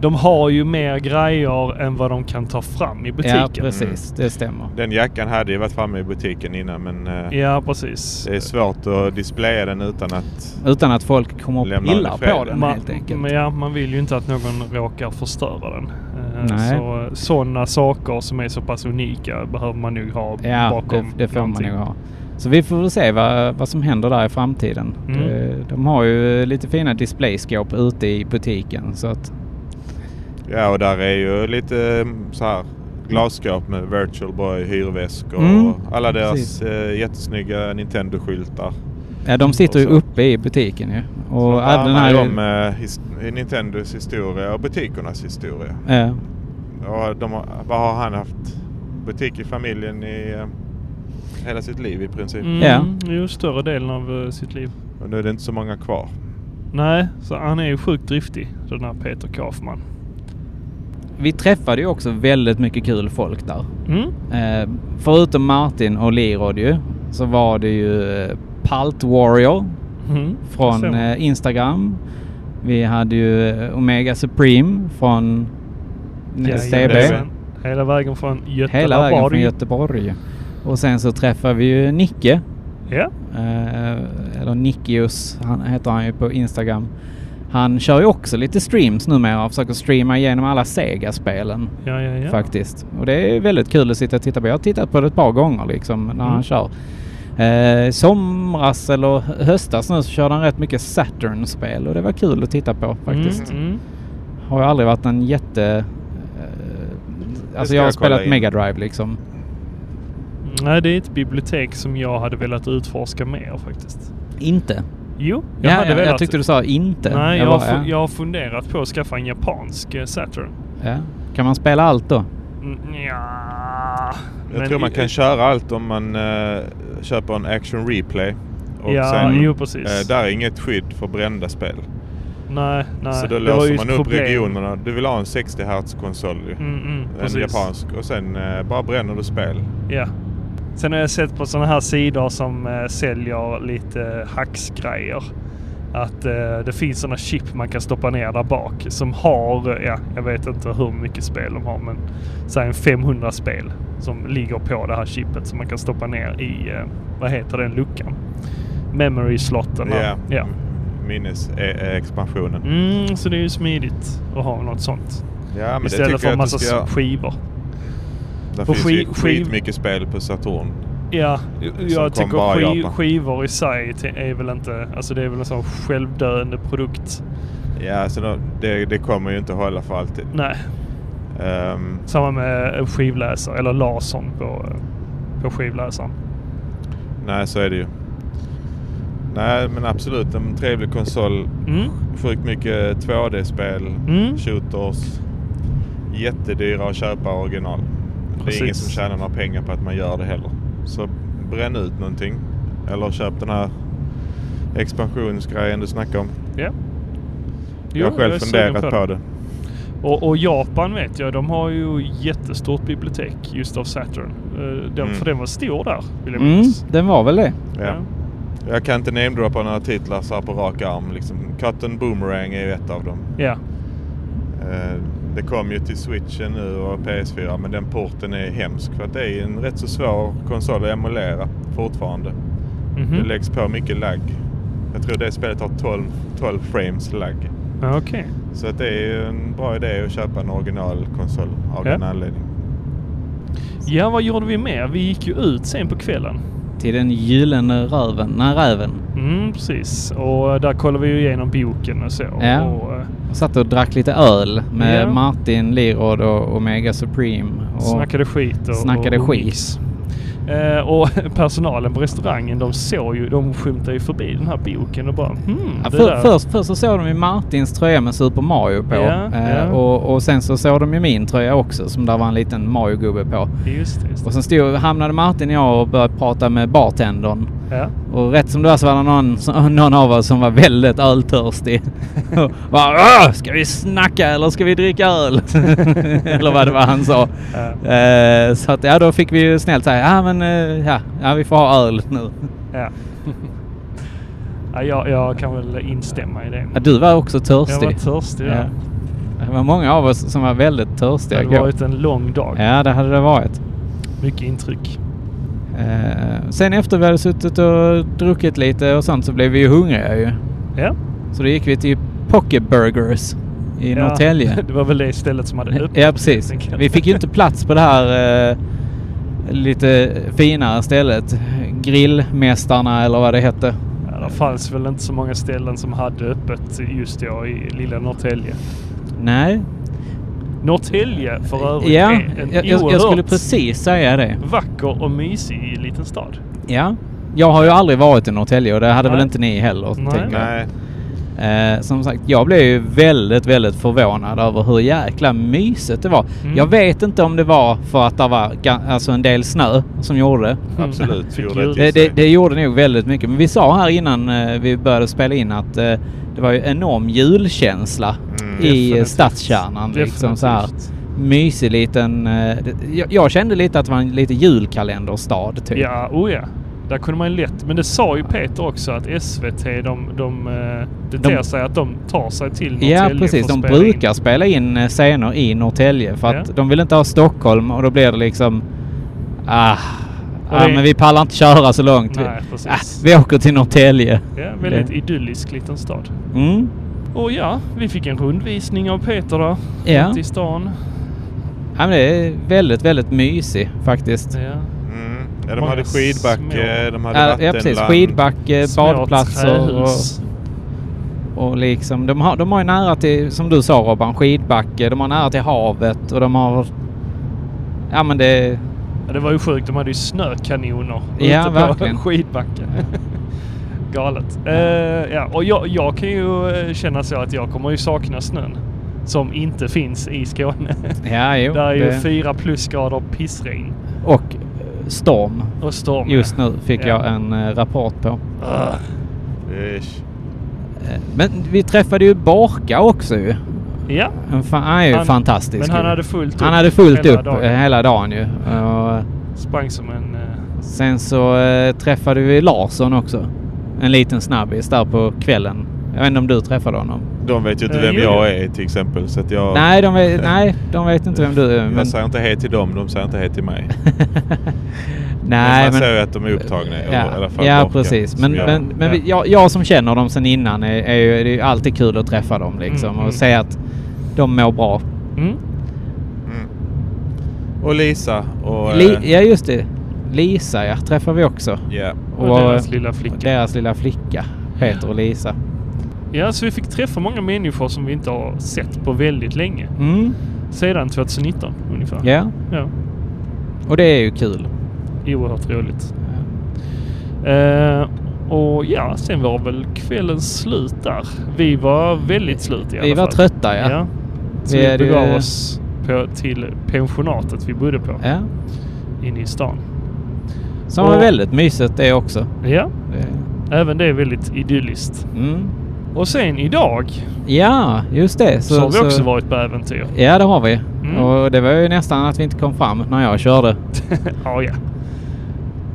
De har ju mer grejer än vad de kan ta fram i butiken. Ja, Mm. precis. Det stämmer. Den jackan hade ju varit framme i butiken innan men eh, Ja, precis. det är svårt att displaya den utan att... Utan att folk kommer och Lämnar pillar det fred. på den Man, helt enkelt. men ja, man vill ju inte att någon råkar förstöra den. Eh, Nej. Så, sådana saker som är så pass unika behöver man nog ha Ja, det, bakom. det får man någonting. nog ha. Så vi får väl se vad, vad som händer där i framtiden. Mm. De, de har ju lite fina displayskåp ute i butiken så att Ja och där är ju lite mm, så här glasskåp med Virtual Boy, hyrväskor Mm, och alla deras precis. eh, jättesnygga Nintendo-skyltar. ja, de sitter ju Och så- uppe i butiken ju. Så Och att där även den handlar här... ju om eh, his- Nintendos historia och butikernas historia. eh, Och de, har- vad har han haft butik i familjen i eh, hela sitt liv i princip? Mm, Ja. Ju större delen av eh, sitt liv. Och nu är det inte så många kvar. Nej, så han är ju sjukt driftig, den här Peter Kaufman. vi träffade ju också väldigt mycket kul folk där. Mm. Eh, förutom Martin och Lirod ju, så var det ju eh, Palt Warrior Mm. från Så. eh, Instagram. Vi hade ju eh, Omega Supreme från STB. Jajamensan. Hela vägen från Göteborg. Hela vägen från Göteborg. Och sen så träffade vi ju Nicke. Ja. Eh, eller Nickius han, heter han ju på Instagram. Han kör ju också lite streams numera och försöker streama igenom alla Sega-spelen Ja, ja, ja. faktiskt. Och det är väldigt kul att sitta och titta på. Jag har tittat på det ett par gånger liksom när Mm. han kör. Eh, somras eller höstas nu så körde han rätt mycket Saturn-spel och det var kul att titta på faktiskt. Mm, mm. Har ju aldrig varit en jätte... Eh, alltså ska jag har jag kolla spelat in. Mega Drive liksom. Nej, det är ett bibliotek som jag hade velat utforska mer faktiskt. Inte. Jo, jag Jag, ja, hade jag, velat. jag tyckte du sa inte. Nej, jag, bara, har fu- jag ja. har funderat på att skaffa en japansk eh, Saturn. Ja. Kan man spela allt då? Mm, ja. Jag tror man kan köra allt om man eh, köper en action replay. Och Ja, jo, precis. eh, där är inget skydd för brända spel. Nej, nej. så då det var ju låser ett man upp problem. regionerna. Du vill ha en 60 Hz konsol ju. Mm, mm, en precis. japansk. Och sen eh, bara bränner du spel. Ja. Sen har jag sett på sådana här sidor som eh, säljer lite eh, hacksgrejer. Att eh, det finns sådana chip man kan stoppa ner där bak som har, eh, ja, jag vet inte hur mycket spel de har men säg en 500 spel som ligger på det här chipet som man kan stoppa ner i, eh, vad heter den luckan? Memory slotten. där. Ja. eh, Ja. Minnesexpansionen. Mm, så det är ju smidigt att ha något sånt. Ja, men det Istället tycker för jag en att du massa ska göra. skivor. Det på finns ski- ju skiv- skitmycket spel på Saturn. Ja, jag kom tycker bara i skiv, Japan. skivor i sig te- är väl inte... Alltså det är väl en sån självdöende produkt. Ja, så då, det, det kommer ju inte hålla för alltid. Nej, Ehm, samma med eh, skivläsare eller lasern på, eh, på skivläsaren. nej, så är det ju. Nej, men absolut en trevlig konsol. Mm. Sjukt mycket 2D-spel, Mm. shooters, jättedyra att köpa original. Det Precis. är ingen som tjänar några pengar på att man gör det heller. Så bränn ut någonting. Eller köp den här expansionsgrejen du snackar om. Ja. jag har Jo, själv är sugen funderat på, det. Och, och Japan vet jag, de har ju jättestort bibliotek just av Saturn. Eh, Den, Mm. För den var stor där, vill jag Mm, minnas. den var väl det. Ja. Jag kan inte namedroppa några titlar så här på rak arm. Liksom. Cotton Boomerang är ju ett av dem. Ja. Eh, Det kom ju till Switchen nu och PS4 men den porten är hemsk för att det är en rätt så svår konsol att emulera fortfarande. Mhm. Det läggs på mycket lagg. Jag tror det spelet har 12, 12 frames lagg. Ja, Okej. Så att det är ju en bra idé att köpa en originalkonsol av Ja. den anledningen. Ja, vad gjorde vi mer? Vi gick ju ut sen på kvällen. Till den gyllene röven. Nej, räven. Mm, precis. Och eh, där kollade vi ju igenom boken och så. Ja. Och, eh, Jag satt och drack lite öl med Ja. Martin Lirod och Omega Supreme. Och snackade skit och snackade och skit. Eh, och personalen på restaurangen de såg ju, de skymtade ju förbi den här boken och bara hmm, Ja, det för, där." först, först så såg de ju Martins tröja med Super Mario på. Ja, eh, ja. Och, och sen så såg de ju min tröja också som där var en liten Mario-gubbe på. Just det, just det. Och sen stod, hamnade Martin och jag och började prata med bartendern. Ja. Och rätt som det var så var det någon, som- någon av oss som var väldigt öltörstig. Och bara, "Åh, ska vi snacka eller ska vi dricka öl? eller vad det var han sa. Ja. Eh, så att, ja, då fick vi ju snällt säga, ja men eh, ja, ja, vi får ha öl nu. Ja. ja, jag, jag kan väl instämma i det. Ja, du var också törstig. Jag var törstig. Ja. Ja. Det var många av oss som var väldigt Det törstiga hade igår. varit en lång dag. Ja, det hade det varit. Mycket intryck. Eh, sen efter vi hade suttit och druckit lite och sånt så blev vi ju hungriga ju. Ja. Så då gick vi till Pocket Burgers i ja. Norrtälje. Det var väl det stället som hade öppet. Ja, precis. helt enkelt. Vi fick ju inte plats på det här eh, lite finare stället. Grillmästarna eller vad det hette. Ja, det fanns väl inte så många ställen som hade öppet just då i lilla Norrtälje. Nej. Norrtälje för övrigt ja, är en jag, jag, jag oerhört skulle precis säga det. vacker och mysig liten stad. Ja. Jag har ju aldrig varit i Norrtälje och det hade väl Nej. inte ni heller. Nej. tänker jag. Nej, Mm. Eh, som sagt, jag blev ju väldigt, väldigt förvånad över hur jäkla mysigt det var. Mm. Jag vet inte om det var för att det var ga- alltså en del snö som gjorde det. absolut. Fick Gjorde det ljud. till Det, det, sig. det gjorde nog väldigt mycket. Men vi sa här innan eh, vi började spela in att eh, det var ju enorm julkänsla Mm. i eh, Definitivt. stadskärnan. Liksom så här Definitivt. mysig liten... Eh, det- jag, jag kände lite att det var en lite julkalenderstad typ. Ja, oh ja. Där kunde man ju lätt. Men det sa ju Peter också att SVT, de, de, eh, det De- ter sig att de tar sig till Norrtälje Ja, för precis. att De spela in. brukar spela in eh, scener i Norrtälje för att Ja. de vill inte ha Stockholm och då blir det liksom... Ah, Och ah det- men vi pallar inte köra så långt. Nej, vi, precis. ah, vi åker till Norrtälje. Ja, väldigt idyllisk liten stad. Mm. Och ja, vi fick en rundvisning av Peter där. Ja. Runt i stan. Ja, men det är väldigt, väldigt mysig faktiskt. Ja. Mm. Ja, de Många hade skidbacke, små- de hade Ja, ja precis. vattenland. Skidbacke, Små Eh, badplatser och, trähus. och liksom. De har, de har ju nära till, som du sa Robban, skidbacke. De har nära till havet och de har... Ja men det... Ja, det var ju sjukt. De hade ju snökanoner Ja, ute verkligen. på skidbacken. Galet. Eh, ja, och jag, jag kan ju eh, känna så att jag kommer ju sakna snön. Som inte finns i Skåne. Ja, jo. Där är ju det- fyra plusgrader pissregn och eh, storm. och storm. Just nu fick Ja. jag en eh, rapport på. Ugh. Ish. Eh, Men vi träffade ju Borka också ju. Ja. En fa- han är ju Han- fantastisk. men han ju. hade fullt Han upp hade fullt hela upp dagen. eh, hela dagen ju. Och eh, Sprang som en... eh, sen så eh, träffade vi Larsson också. En liten snabbis där på kvällen. Jag vet inte om du träffade honom? De vet ju inte Eh, vem jo, jag är till exempel. Så att jag, Nej, de vet, nej, de vet inte vem du är. jag Men, säger inte hej till dem, de säger inte hej till mig. nej, men, man ser ju att de är upptagna. eller i alla fall ja Borka, precis. som Men, gör men, det. men vi, jag, jag som känner dem sedan innan är, är ju, det är ju alltid kul att träffa dem liksom Mm, mm. och se att de mår bra. Mm. Mm. Och Lisa och... Li, eh, ja, just det. Lisa ja, träffar vi också. ja. Och deras lilla flicka. och Deras lilla flicka. Peter och Lisa. Ja, så vi fick träffa många människor som vi inte har sett på väldigt länge. Mm. Sedan 2019 ungefär. Ja, ja. och det är ju kul. Oerhört roligt. Eh, och ja, sen var väl kvällen slut där. Vi var väldigt slut i alla Vi var fall. trötta ja. Så Vi vi, hade ju- begav oss på till pensionatet vi bodde på Ja. inne i stan. Som Och- var väldigt mysigt det också. Ja, Det- även det är väldigt idylliskt. Mm. Och sen idag Ja, just det. så, har vi också varit på äventyr. Ja, det har vi. Mm. Och det var ju nästan att vi inte kom fram när jag körde. ja, ja.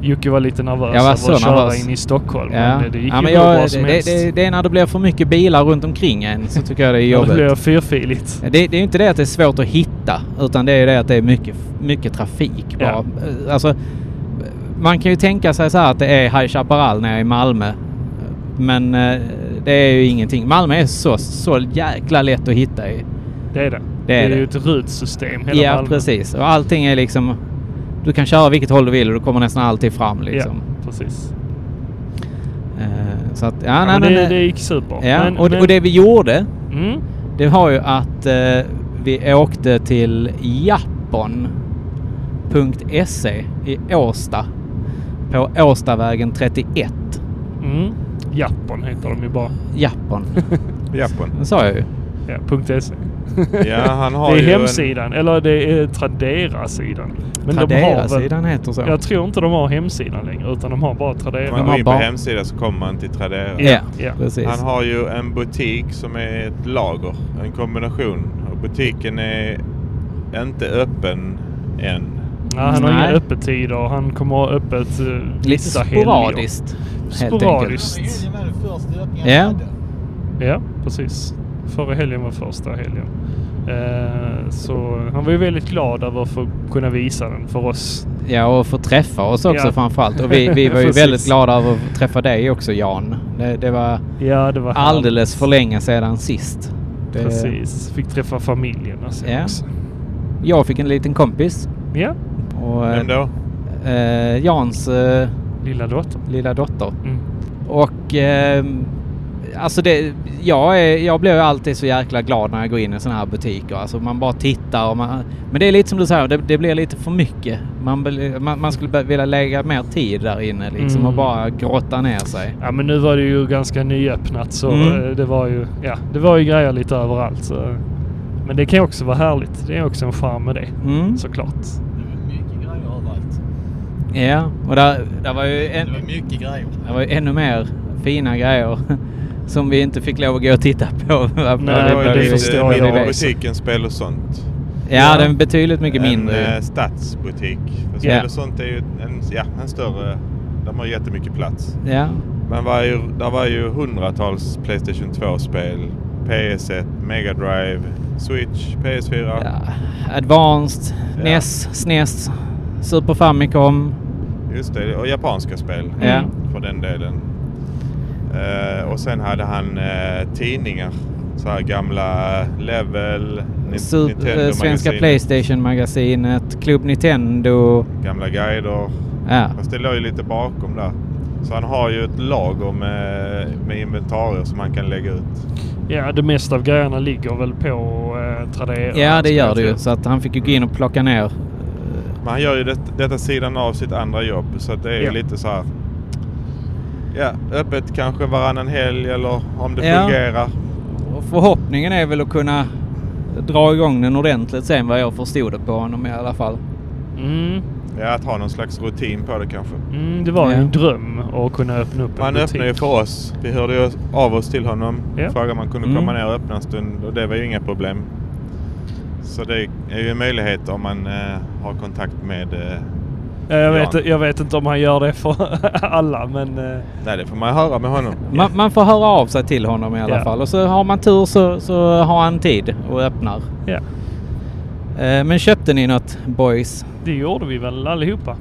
Jocke var lite nervös Jag var över så att köra nervös. in i Stockholm. ja. Men det gick ja, ju men hur jag, bra som det, helst. det, det är när det blir för mycket bilar runt omkring en så tycker jag det är Ja, det jobbigt. blev fyrfiligt. Det, det är ju inte det att det är svårt att hitta utan det är ju det att det är mycket, mycket trafik bara. Eh, Alltså, man kan ju tänka sig så här att det är High Chaparral nere i Malmö. Men eh, det är ju ingenting. Malmö är så, så jäkla lätt att hitta i. Det är det. Det är det. ju ett rutsystem hela ja, Malmö. precis. Och allting är liksom... Du kan köra vilket håll du vill och du kommer nästan alltid fram liksom. Ja, precis. Eh, så att, ja, Ja, nej, men men, det, eh, det gick super. ja. men, och, men, och det vi gjorde, Mm, det var ju att eh, vi åkte till jappon.se i Åsta. På Åstavägen 31. mm. Japan heter de ju bara. Jappon. Japan. Det sa jag ju. Ja, punkt .se. Ja, han har det är ju en- hemsidan, eller det är Tradera-sidan. Men Tradera-sidan heter så. de har väl, Jag tror inte de har hemsidan längre, utan de har bara Tradera. Om man De har går in på barn. hemsidan så kommer man till Tradera. Ja, ja. precis. Han har ju en butik som är ett lager, en kombination. Och butiken är inte öppen än. Nej, han har Nej. inga öppettider och han kommer ha öppet eh, Lite vissa helger. sporadiskt. helt Sporadiskt. enkelt. Det var den första öppningen Ja. jag hade. Ja, precis. Förra helgen var första helgen. Eh, så han var ju väldigt glad över att få kunna visa den för oss. Ja, och få träffa oss också Ja. framförallt. Och vi, vi var ju Precis. väldigt glada över att få träffa dig också Jan. Det, det var Ja, det var alldeles för länge sedan sist. Det, Precis. Fick träffa familjen och så Ja. också. Jag fick en liten kompis. Ja, Och, Vem då? eh, Jans eh, lilla dottern. lilla dotter. Mm. Och ehm, alltså det, jag, är, jag blir ju alltid så jäkla glad när jag går in i sådana här butiker. Alltså man bara tittar och man, Men det är lite som du säger, det, det blir lite för mycket. Man, blir- man, man skulle be- vilja lägga mer tid där inne liksom Mm. och bara grotta ner sig. Ja, men nu var det ju ganska nyöppnat så Mm. eh, det var ju, ja, det var ju grejer lite överallt. Så. Men det kan ju också vara härligt. Det är också en charm med det, Mm. såklart. Det var mycket grejer överallt. Ja, och där, där var ju en, Det var mycket grejer. det var ju ännu mer fina grejer som vi inte fick lov att gå och titta på. Nej, det var ju det lite förstår jag mindre också. butik än spel och sånt. Ja, den är betydligt mycket mindre. En eh, stadsbutik. För spel Ja. och sånt är ju en, ja, en större... De har jättemycket plats. ja. Men var ju, där var ju hundratals Playstation 2-spel. PS1, Mega Drive, Switch, PS4. Ja. Advanced, E Ja. NES, SNES, Super Famicom. Just det, och japanska spel Ja. för den delen. Eh, och sen hade han eh, tidningar. Så här gamla eh, Level, Ni- Sup- eh, Svenska Nintendo-magasin, Playstation-magasinet, Club Nintendo. Gamla guider. Ja. Fast det låg ju lite bakom där. Så han har ju ett lager med, med inventarier som han kan lägga ut. Ja, det mesta av grejerna ligger väl på eh, Tradera. ja, det skulle gör jag det ju. tro. Så att han fick ju gå in och plocka ner. Men han gör ju det, detta sidan av sitt andra jobb. Så att det är ju Ja. lite så här. Ja, öppet kanske varannan helg eller om det Ja. fungerar. Och förhoppningen är väl att kunna dra igång den ordentligt sen vad jag förstod det på honom i alla fall. Mm. Ja, att ha någon slags rutin på det kanske. Mm, det var Ja. en dröm att kunna öppna upp Han en butik. öppnade ju för oss. Vi hörde ju av oss till honom. Ja. Frågade om han kunde Mm. komma ner och öppna en stund och det var ju inga problem. Så det är ju en möjlighet om man eh, har kontakt med... Eh, Eh, Jag vet, Jan. jag vet inte om han gör det för alla, men eh, nej, det får man höra med honom. Man, man får höra av sig till honom i alla Ja. fall. Och så har man tur så, så har han tid och öppnar. ja, Eh, men köpte ni något boys? det gjorde vi väl allihopa.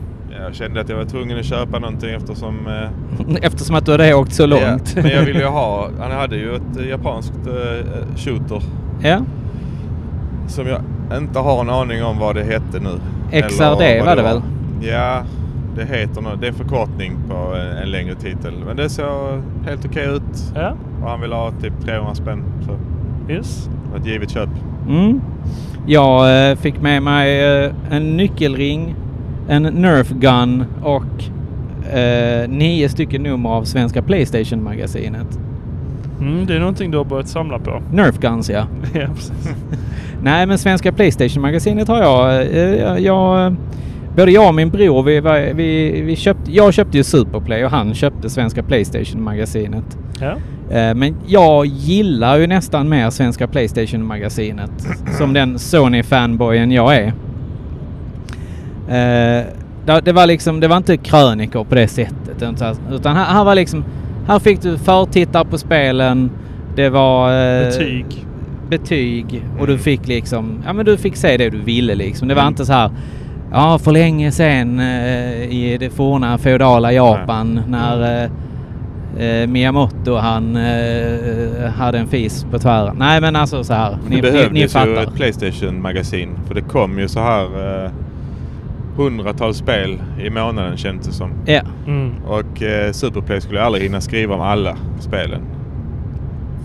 Jag kände att jag var tvungen att köpa någonting eftersom... Eh, Eftersom att du hade åkt så långt. ja, men jag ville ju ha... Han hade ju ett eh, japanskt eh, shooter ja. som jag inte har en aning om vad det hette nu. XRD Eller vad var det väl? Ja, det heter nå- Det är en förkortning på en, en längre titel. Men det såg helt okej ut. Ja, Och han vill ha typ 300 spänn. Så yes. det var ett givet köp. Mm. Jag eh, fick med mig eh, en nyckelring, en Nerf gun och eh, nio stycken nummer av svenska Playstation-magasinet. Mm, det är någonting du har börjat samla på. Nerf guns ja. ja, precis. Nej men svenska Playstation-magasinet har jag. eh, Jag, jag både jag och min bror, vi, var- vi, vi köpte, jag köpte ju Superplay och han köpte svenska Playstation-magasinet. Ja. Eh, Men jag gillar ju nästan mer svenska Playstation-magasinet. Som den Sony-fanboyen jag är. Eh, det- Det var liksom, det var inte krönikor på det sättet. utan- Utan här, här var liksom, här fick du förtittar på spelen. Det var... eh, Betyg. Betyg. Och du Mm. fick liksom, ja men du fick se det du ville liksom. Det var inte så här, ja för länge sedan eh, i det forna feodala Japan när eh, Mm. Eh, Miyamoto han eh, hade en fis på tvären. Nej men alltså så här. Ni, ni, ni det behövdes ju fattar. ett Playstation-magasin. För det kom ju så här eh, hundratals spel i månaden kändes det som. Ja. Mm. Och eh, Superplay skulle aldrig hinna skriva om alla spelen.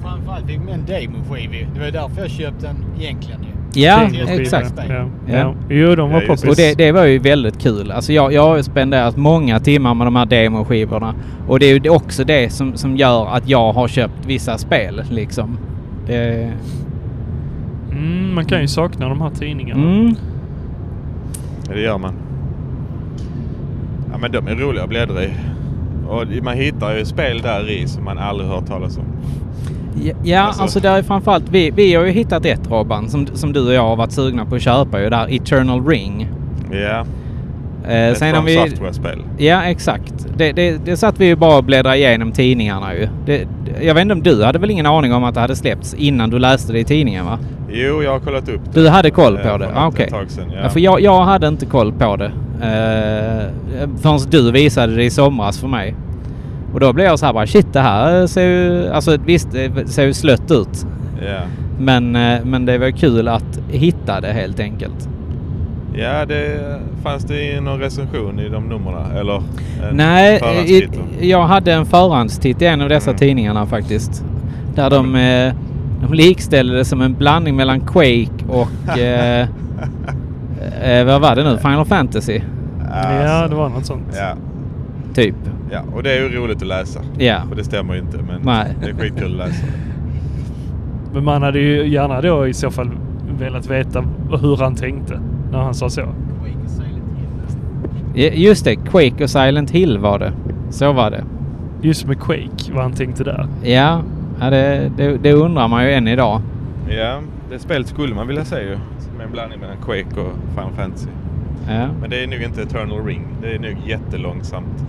Framförallt fick man en demoskiv Det var ju därför jag köpte den egentligen ju. ja, Till- Demoskiva. exakt. Ja. Ja. Ja. Jo, de var Ja, just poppis. det. Och det, det var ju väldigt kul. Alltså jag, jag har ju spenderat många timmar med de här demoskivorna. Och det är ju också det som, som gör att jag har köpt vissa spel liksom. Det, Mm, man kan ju sakna de här tidningarna. mm. Ja, det gör man. Ja, men de är roliga att bläddra i. Och man hittar ju spel där i som man aldrig hört talas om. Ja, Ja, alltså, Alltså- där är framförallt, vi, vi har ju hittat ett Robban som, som du och jag har varit sugna på att köpa ju, där Eternal Ring. Ja, Eh, ett sen om From vi, Software-spel. Ja, exakt. Det, det, det satt vi ju bara och bläddrade igenom tidningarna ju. Det, det- jag vet inte om du hade väl ingen aning om att det hade släppts innan du läste det i tidningen va? Jo, jag har kollat upp det. Du hade koll Eh, på det? för Ah, ett Okej. tag sedan, ja. Ja, för jag, jag hade inte koll på det. Uh, förrän du visade det i somras för mig. Och då blev jag så här bara shit det här ser ju... Alltså visst, det ser ju slött ut. Ja, Men, eh, men det var kul att hitta det helt enkelt. ja det fanns det någon recension i de numren? Eller? eh, en Nej, i, förhandstitt då? jag hade en förhandstitt i en av dessa Mm. tidningarna faktiskt. Där de, eh, de likställde det som en blandning mellan Quake och... eh, eh, vad var det nu? Final Fantasy? Ja, Alltså, det var något sånt. ja, Typ. ja, och det är ju roligt att läsa. Ja. För det stämmer ju inte, men Nej. det är skitkul att läsa. Men man hade ju gärna då i så fall velat veta hur han tänkte när han sa så. Quake och Silent Hill. Ja, Just det, Quake och Silent Hill var det. Så var det. Just med Quake, vad han tänkte där. Ja, ja det, det, det undrar man ju än idag. Ja, det spelet skulle man vilja se ju. Som en blandning mellan Quake och Final Fantasy. Ja. Men det är nog inte Eternal Ring. Det är nog jättelångsamt.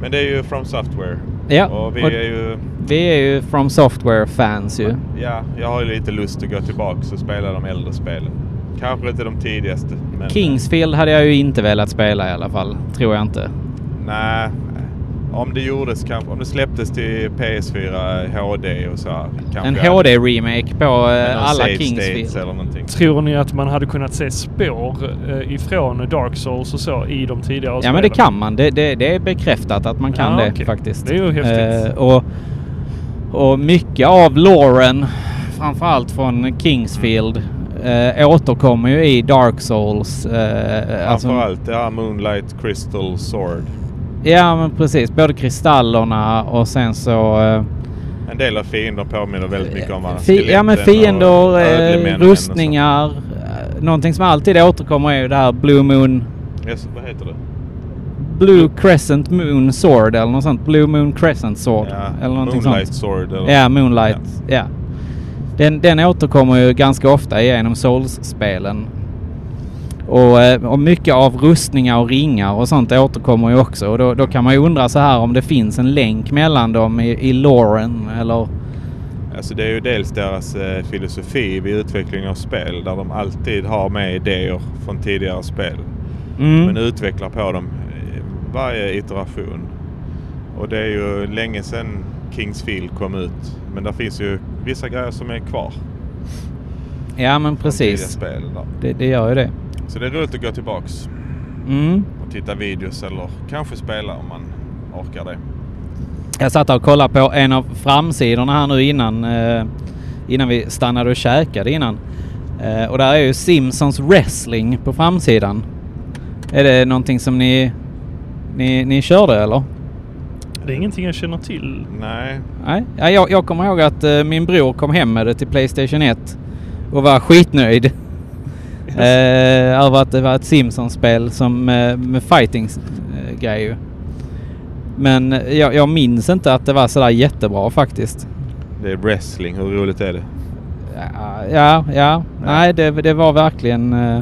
Men det är ju From Software. Ja, Och vi och- är ju... Vi är ju From Software-fans ju. Ja, jag har ju lite lust att gå tillbaka och spela de äldre spelen. Kanske inte de tidigaste. Men, Kingsfield hade jag ju inte velat spela i alla fall. Tror jag inte. Nej. Om det gjordes kanske, om det släpptes till PS4 HD och så här. kanske En jag hade- HD-remake på eh, med någon alla save states Kingsfield. eller någonting. Tror ni att man hade kunnat se spår eh, ifrån Dark Souls och så i de tidigare Ja spelen? men det kan man. Det, det, det är bekräftat att man kan Ja, det okej. faktiskt. Det är ju häftigt. Eh, och, och mycket av Lauren, framförallt från Kingsfield, eh, återkommer ju i Dark Souls. Eh, alltså- Framförallt det här Moonlight Crystal Sword. Ja men precis, både kristallerna och sen så... eh, En del av fiender påminner väldigt mycket om varandra. Fi- ja men Skeletten och liksom. fiender, eh, ödlemännen och så. rustningar. Eh, någonting som alltid återkommer är ju det här Blue Moon... Yes, vad heter det? Blue Crescent Moon Sword eller något sånt. Blue Moon Crescent Sword. eller någonting Moonlight sånt. Sword. Eller? Ja, Moonlight. Ja. Den, den återkommer ju ganska ofta genom Souls-spelen. Och, eh, och mycket av rustningar och ringar och sånt återkommer ju också. Och då, då kan man ju undra så här om det finns en länk mellan dem i, i Lauren eller... Ja. Alltså det är ju dels deras eh, filosofi vid utvecklingen av spel där de alltid har med idéer från tidigare spel. Mm. Men utvecklar på dem eh, varje iteration. Och det är ju länge sedan Kingsfield kom ut. Men där finns ju vissa grejer som är kvar. från Ja, men tidiga precis. Spel där. Det, det gör ju det. Så det är roligt att gå tillbaks Mm. och titta videos eller kanske spela om man orkar det. Jag satt och kollade på en av framsidorna här nu innan, eh, innan vi stannade och käkade innan. Eh, och där är ju Simpsons wrestling på framsidan. Är det någonting som ni, ni, ni körde eller? Det är ingenting jag känner till. Nej. Nej, ja, jag, jag kommer ihåg att eh, min bror kom hem med det till Playstation 1 och var skitnöjd. eh, över att det var ett Simpsons-spel som eh, med fighting-grejer. Men eh, jag, jag minns inte att det var sådär jättebra faktiskt. Det är wrestling. Hur roligt är det? Ja, ja, ja. nej det, det var verkligen... Eh,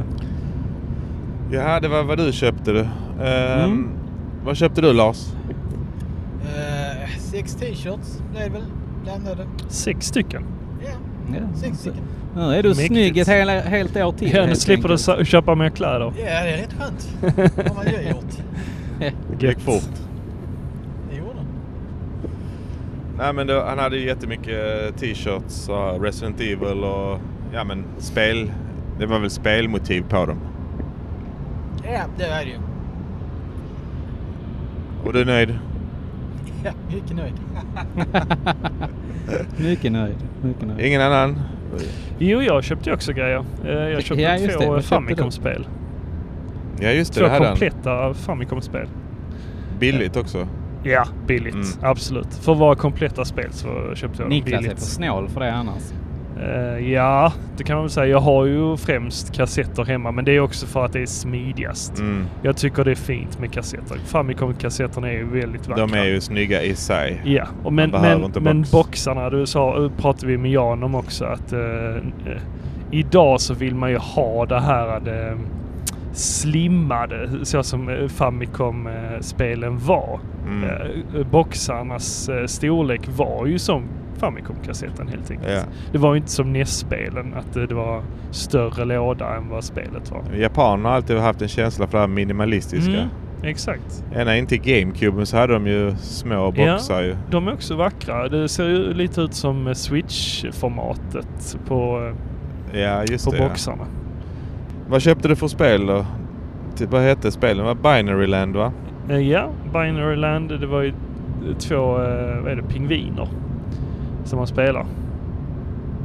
Ja, det var vad du köpte du. Ehm, Mm. Vad köpte du Lars? Eh, sex t-shirts blev det väl blandade. Sex stycken. Ja, ja. sex stycken. Nu är du Mäktigt. snygg ett hela, helt år till. Ja, nu helt slipper du enkelt. sa- köpa mer kläder. Ja, det är rätt skönt. Vad man ju gjort. Det gick fort. Det gjorde den. Nej men det, han hade ju jättemycket eh, t-shirts och Resident Evil och ja men spel. Det var väl spelmotiv på dem. Ja, det var det ju. Och du är nöjd? Ja, mycket nöjd. Mycket nöjd. Mycket nöjd. Ingen annan? Jo, jag köpte ju också grejer. Eh, Jag köpte Ja, just det. två Vad eh, köpte du? Famicom-spel. Ja just det, Två det hade han. kompletta Famicom-spel. Billigt också. Ja, billigt. Mm. Absolut. För att vara kompletta spel så köpte jag dem Niklas är för billigt. snål för det annars. Eh, ja, det kan man väl säga. Jag har ju främst kassetter hemma, men det är också för att det är smidigast. Mm. Jag tycker det är fint med kassetter. Famicom-kassetterna är ju väldigt vackra. De är ju snygga i sig. Ja, och men, Man behöver men, inte men box. boxarna, du sa, eh, pratade vi med Jan om också att eh, eh, idag så vill man ju ha det här eh, slimmade, så som eh, Famicom-spelen var. Mm. Eh, boxarnas eh, storlek var ju som Famicom-kassetten helt enkelt. Ja. Det var ju inte som NES-spelen, att eh, det var större låda än vad spelet var. Japaner har alltid haft en känsla för det här minimalistiska. Mm, exakt. Ända in till GameCube så hade de ju små boxar ju. De är också vackra. Det ser ju lite ut som eh, Switch-formatet på, eh, Ja just på det. ja. boxarna. Vad köpte du för spel då? Typ, vad hette spelen? Det var Binary Land va? Eh, Ja, Binary Land, det var ju två eh, vad är det, pingviner som man spelar.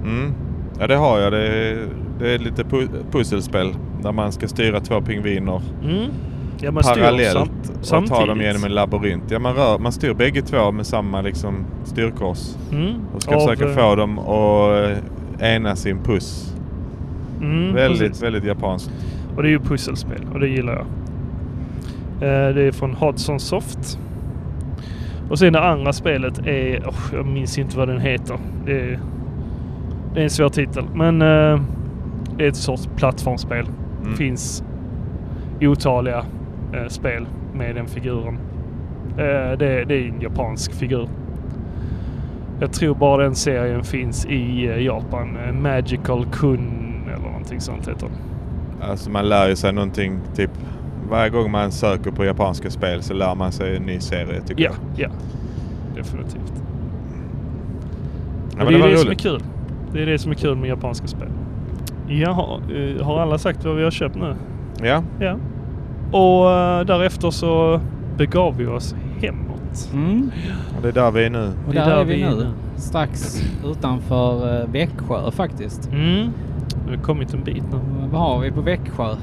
Mm. Ja det har jag. Det är, det är lite pu- pusselspel där man ska styra två pingviner Mm. Ja, man styr parallellt sam- och ta dem samtidigt. genom en labyrint. Ja, man, rör, man styr bägge två med samma liksom, styrkors Mm. och ska försöka eh, få dem att eh, enas i en puss. Mm, väldigt, precis. väldigt japanskt. Och det är ju pusselspel och det gillar jag. Eh, Det är från Hudson Soft. Och sen det andra spelet är... åh, jag minns inte vad den heter. Det är, det är en svår titel. Men eh, det är ett sorts plattformsspel. Mm. finns otaliga eh, spel med den figuren. Eh, det, det är en japansk figur. Jag tror bara den serien finns i eh, Japan. Eh, Magical Kun eller någonting sånt heter den. Alltså man lär ju sig någonting typ varje gång man söker på japanska spel så lär man sig en ny serie tycker Ja, jag. ja. Definitivt. Ja, det, men är det det var som är roligt. kul. Det är det som är kul med japanska spel. Jaha, eh, har alla sagt vad vi har köpt nu? Ja, Ja. Och eh, därefter så begav vi oss hemåt. Mm. och det är där vi är nu. Och Det är där, är vi, nu. nu. Strax utanför eh, Växjö faktiskt. Mm. Nu har vi kommit en bit nu. Vad har vi på Växjö? Genom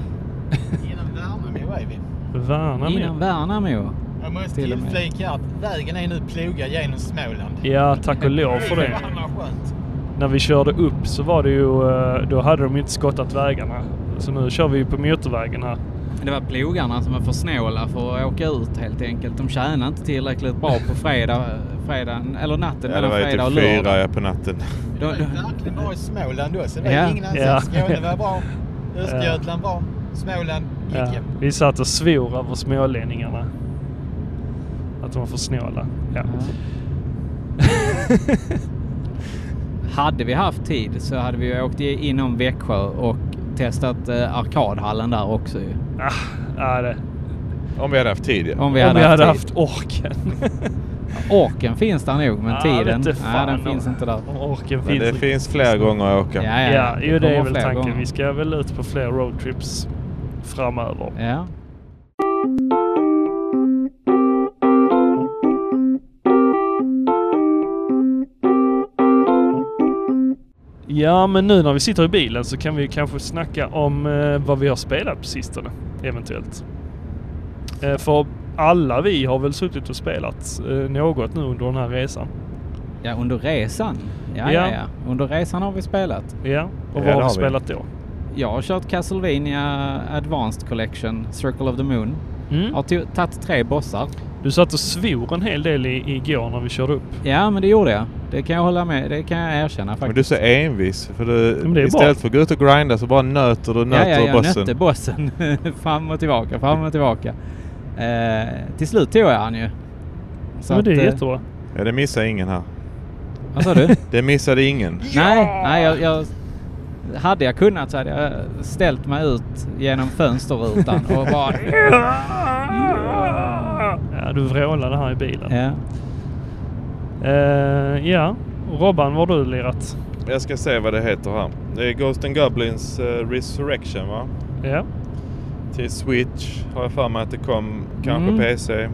Värnamo är vi. Värnamo. Innan Värnamo. Jag måste Till och med. inflika att vägen är nu plogad genom Småland. Ja, tack och lov för det. Fan vad skönt. När vi körde upp så var det ju... eh, Då hade de inte skottat vägarna. Så nu kör vi ju på motorvägen här. Det var plogarna som var för snåla för att åka ut helt enkelt. De tjänade inte tillräckligt bra på fredag, fredagen, eller natten Ja, det mellan var ju fredag och typ lördag. fyra ja, på natten. Det var ju verkligen bra i Småland då. Så det var Ja. ingen annan Ja. Skåne var bra. Östergötland var. Småland gick Ja. jämnt. Vi satt och svor över smålänningarna. Att de var för snåla. Ja. Hade vi haft tid så hade vi ju åkt i- inom Växjö och testat eh, arkadhallen där också ju. Ah, ja, det. Om vi hade haft tid ja. Om Vi vi Om hade, vi hade haft haft tid. orken. Orken finns där nog men Ah, tiden, vete nej den fan finns om- inte där. om Orken Men finns det inte. finns fler gånger att åka. Ja, Ja, jo, det kommer är väl fler tanken. gånger. Vi ska väl ut på fler roadtrips framöver. Ja. Ja, men nu när vi sitter i bilen så kan vi kanske snacka om eh, vad vi har spelat på sistone, eventuellt. Eh, för alla vi har väl suttit och spelat eh, något nu under den här resan. Ja, under resan. Ja, Ja. ja, ja. Under resan har vi spelat. Ja, och Ja, vad det har vi har vi. spelat då? Jag har kört Castlevania Advanced Collection, Circle of the Moon. Mm. Har to- tagit tre bossar. Du satt och svor en hel del i, igår när vi körde upp. Ja, men det gjorde jag. Det kan jag hålla med. Det kan jag erkänna Men du är faktiskt. så envis. För du, men det är bra. istället för att gå ut och grinda så bara nöter du ja, nöter ja, jag bossen. nötte bossen. fram och tillbaka, fram och tillbaka. Eh, till slut tog jag han ju. Så men det är att, eh, jättebra. Ja, det missar ingen här. Vad sa du? Det missade ingen. Nej, nej jag, jag, hade jag kunnat så hade jag ställt mig ut genom fönsterrutan och bara... Ja, du vrålade här i bilen. Ja. Eh, ja. Robban, vad har du lirat? Jag ska se vad det heter här. Det är Ghost and Goblins eh, Resurrection va? Ja. Till Switch har jag för mig att det kom. Kanske Mm. PC.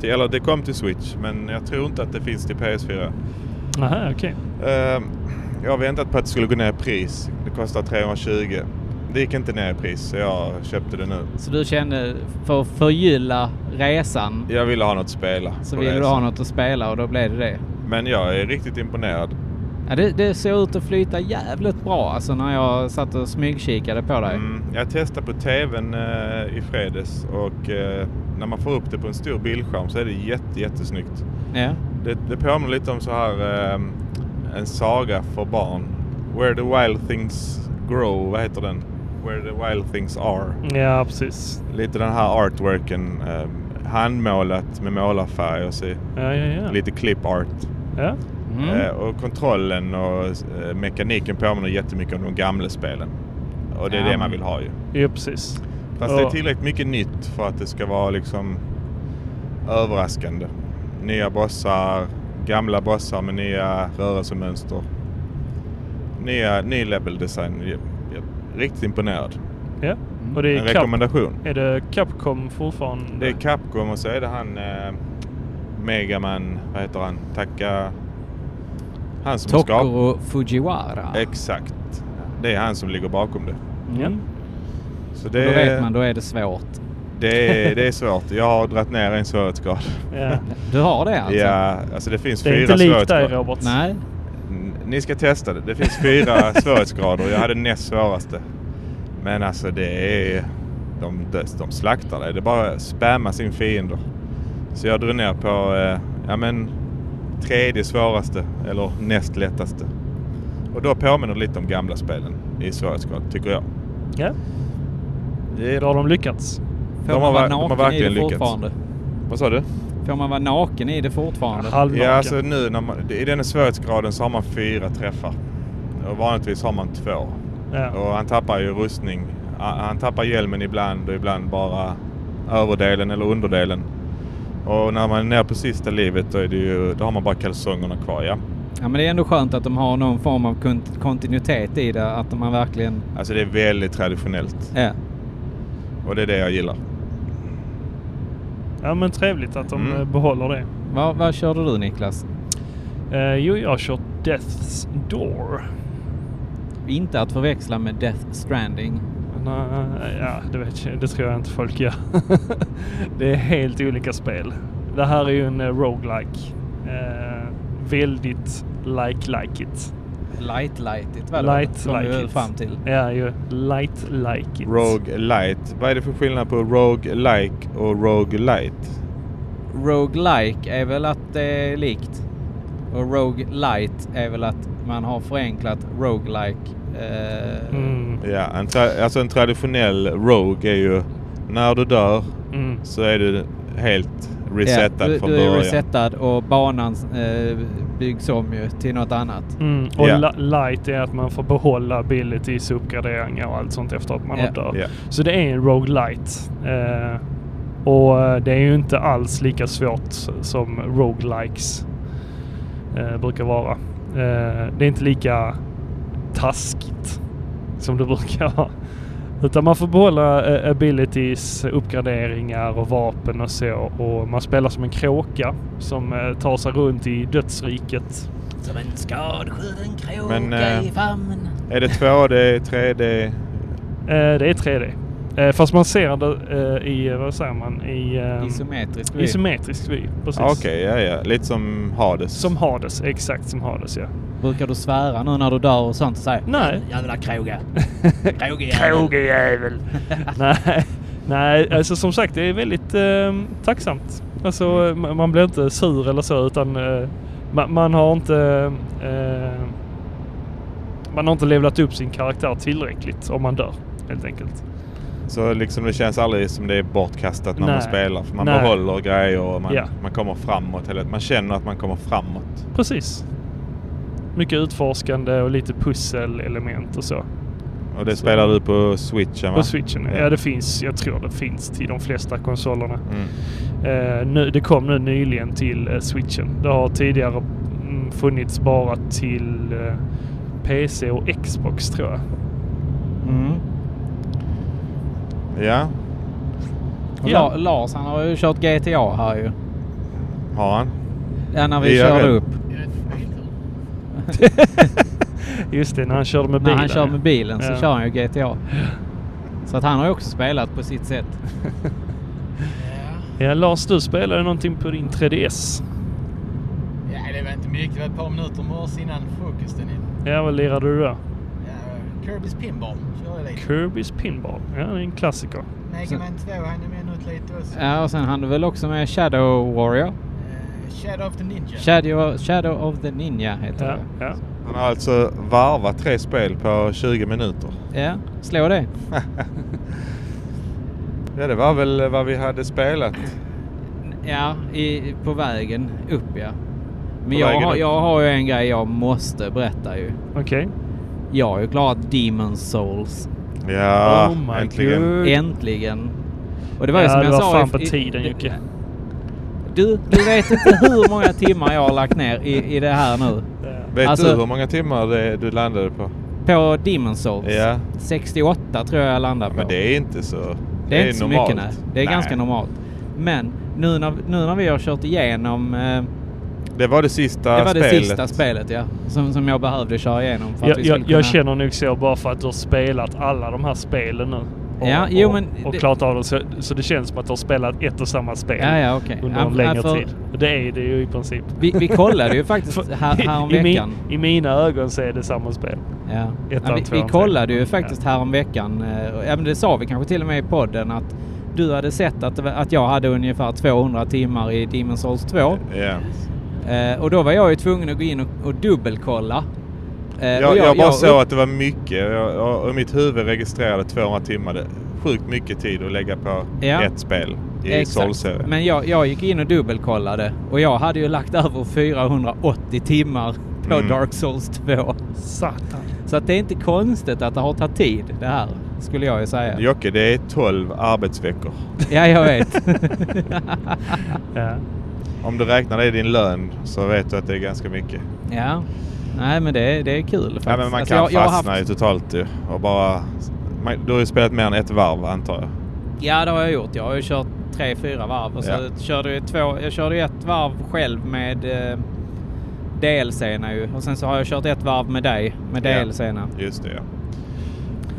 Till, eller det kom till Switch men jag tror inte att det finns till PS4. Nähä, okej. Eh, jag har väntat på att det skulle gå ner i pris. Det kostar 320. Det gick inte ner i pris så jag köpte det nu. Så du kände för att förgylla resan Jag ville ha något att spela. så på ville du resan. ha något att spela och då blev det det. Men jag är riktigt imponerad. Ja, det, det såg ut att flyta jävligt bra alltså när jag satt och smygkikade på dig. Mm, jag testade på tvn eh, i fredags och eh, när man får upp det på en stor bildskärm så är det jätte, jättesnyggt. Ja. Det, det påminner lite om så här eh, en saga för barn. Where the wild things grow, vad heter den? Where the wild things are. Ja, precis. Lite den här artworken. Eh, handmålat med målarfärg och så, Ja, ja, ja. lite clip art. Ja. Mm. Eh, och kontrollen och eh, mekaniken påminner jättemycket om de gamla spelen. Och det är Ja, det men- man vill ha ju. ja, precis. Fast Och- det är tillräckligt mycket nytt för att det ska vara liksom överraskande. Nya bossar, gamla bossar med nya rörelsemönster. Nya, ny level design. Jag- jag är Riktigt imponerad. Ja. Mm. Och det En är, Cap- rekommendation. är det Capcom fortfarande? Det är Capcom och så är det han eh, Megaman, vad heter han? Taka... Han som har skapat... Tokoro Fujiwara. Exakt. Det är han som ligger bakom det. Ja. Mm. Så Då det, vet man, då är det svårt. det, är, det är svårt. Jag har dragit ner en svårighetsgrad. Ja. Du har det alltså? Ja, alltså det finns Det är fyra inte likt dig svårighetsgrader. Robert. Nej? N- Ni ska testa det. Det finns fyra svårighetsgrader. Jag hade näst svåraste. Men alltså det är... De, dö- de slaktar dig. Det är bara att spamma sin fiender. Så jag drog ner på, eh, ja men, tredje svåraste. Eller näst lättaste. Och då påminner det lite om gamla spelen i svårighetsgrad, tycker jag. Ja. Det Då har de lyckats. Får De har man vara ver- de har naken i verkligen det lyckats. fortfarande? Vad sa du? Får man vara naken i det fortfarande? Halvnaken. Ja, alltså nu när man, i den här svårighetsgraden så har man fyra träffar. Och vanligtvis har man två. ja. Och han tappar ju rustning. Han han tappar hjälmen ibland och ibland bara överdelen eller underdelen. Och när man är nere på sista livet då, är det ju, då har man bara kalsongerna kvar. Ja. Ja, men det är ändå skönt att de har någon form av kont- kontinuitet i det. Att man verkligen... Alltså det är väldigt traditionellt Ja. och det är det jag gillar. ja, men trevligt att de Mm. eh, behåller det. Vad, vad körde du Niklas? Eh, jo, jag har kört Death's Door. Inte att förväxla med Death Stranding. Nej, ja, det, vet jag, det tror jag inte folk gör. det är helt olika spel. Det här är ju en eh, roguelike. Eh, väldigt like-like it. Light light it var det Light som vi like höll it. fram till. Ja, ju light-like it. Rogue Light. Vad är det för skillnad på Rogue Like och Rogue Light? Roguelike är väl att det är likt. Och Rogue Light är väl att man har förenklat Roguelike. Eh, Mm. Ja, en tra- alltså en traditionell Rogue är ju när du dör Mm. så är du helt ja, resetad du, från du är början. resetad och banan eh, byggs om ju till något annat. Mm. Och Ja. li- light är att man får behålla abilities, uppgraderingar och allt sånt efter att man Ja. har dött. Ja. Så det är en roguelite. Eh, och eh, det är ju inte alls lika svårt som roguelikes eh, brukar vara. Eh, det är inte lika taskigt som det brukar vara. Utan man får behålla eh, abilities, uppgraderingar och vapen och så. Och man spelar som en kråka som eh, tar sig runt i dödsriket. Som en skadskjuten kråka Men, eh, i famnen. Är det 2D, 3D? Eh, det är 3D. Eh, fast man ser det eh, i, vad säger man, i... Eh, Isometrisk vy. isometrisk vy. Precis. Ja, Ah, Okej, ja, ja. Lite som Hades. Som Hades, exakt som Hades ja. Brukar du svära nu när du dör och sånt? Så här, Nej. Jävla kråga. Krågejävel. Krogejävel. Nej. Nej, alltså som sagt det är väldigt eh, tacksamt. Alltså ma- man blir inte sur eller så utan eh, man, man har inte... Eh, man har inte levlat upp sin karaktär tillräckligt om man dör helt enkelt. Så liksom det känns aldrig som det är bortkastat när man Nej. spelar. För man Nej. behåller grejer och man, Ja. man kommer framåt. Eller man känner att man kommer framåt. Precis. Mycket utforskande och lite pusselelement och så. Och det Så- spelar du på switchen va? På switchen. Ja. Ja. det finns. Jag tror det finns till de flesta konsolerna. Mm. Eh, nu, det kom nu nyligen till eh, switchen. Det har tidigare mm, funnits bara till eh, PC och Xbox tror jag. Mm. Ja, Och Ja. La- Lars han har ju kört GTA här ju. har han. Ja, när vi Det gör körde det. upp. Är det ett bilder? Just det, när han körde med När bilen. han kör ja. med bilen så Ja. kör han ju GTA. Så att han har ju också spelat på sitt sätt. Ja. Ja, Lars, du spelade någonting på din 3DS. ja, det var inte mycket. Det var ett par minuter i morse innan frukosten. in. Ja, vad lirade du då? Ja, Kirbys Pinball körde jag lite. Kirby's Pinball. Ja, det är en klassiker. Mega Man 2 hann jag med något lite också. Ja, och sen hann du väl också med Shadow Warrior? Eh, Shadow of the Ninja. Shadow, Shadow of the Ninja heter Ja, det. ja. Han har alltså varvat tre spel på 20 minuter. Ja, slå det. Ja, det var väl vad vi hade spelat. Ja, i, på vägen upp ja. Men På jag vägen har, upp. jag har ju en grej jag måste berätta ju. Okej. Jag har ju klarat Demon Souls. Ja, Oh my äntligen. God. Mm. Äntligen. Och det var ju ja, som det jag var sa... fan i- på i- tiden det- Jocke. Du, du vet inte hur många timmar jag har lagt ner i, i det här nu. Vet Alltså- du hur många timmar det, du landade på? På Demon Souls. Ja. 68 tror jag jag landade Ja, på. men det är inte så... Det är, inte så mycket nej. Det är ganska normalt. Men nu när, nu när vi har kört igenom... Eh, Det var det sista det var spelet. det sista spelet ja. Som, som jag behövde köra igenom för att Jag, vi skulle jag, kunna... jag känner nog så bara för att du har spelat alla de här spelen nu. Och, Ja, jo, och, men och det- klarat av dem. Så, så det känns som att du har spelat ett och samma spel Ja, ja, okej. under Ja, en längre ja, för- tid. Och det är det ju i princip. Vi, vi kollade ju faktiskt här, I, min, häromveckan. I mina ögon så är det samma spel. Ja. Ettan, Ja, vi, vi tvåan, kollade trean. ju faktiskt häromveckan. eh, och- Ja, men det sa vi kanske till och med i podden att du hade sett att, det var- att jag hade ungefär 200 timmar i Demon's Souls 2. Ja. Eh, och då var jag ju tvungen att gå in och, och dubbelkolla. Eh, och Jag, jag bara såg upp- att det var mycket. Jag, jag, och mitt huvud registrerade 200 timmar. Det är sjukt mycket tid att lägga på Ja. ett spel i Exakt. Soul-serien. Men jag, jag gick in och dubbelkollade och jag hade ju lagt över 480 timmar på Mm. Dark Souls 2. Satan. Så att det är inte konstigt att det har tagit tid det här, skulle jag ju säga. Jocke, det är 12 arbetsveckor. Ja, jag vet. Ja. Om du räknar det i din lön så vet du att det är ganska mycket. ja. Nej, men det, är- det är kul faktiskt. Ja, men man Alltså, kan jag- jag har fastna ju totalt ju. Och bara... man- Du har ju spelat mer än ett varv antar jag. Ja, det har jag gjort. Jag har ju kört tre, fyra varv. Och så typ- Ja. körde jag, två, jag körde ju ett varv själv med eh, DLC ju. Och sen så har jag kört ett varv med dig med Ja. DLC. -na. Just det ja.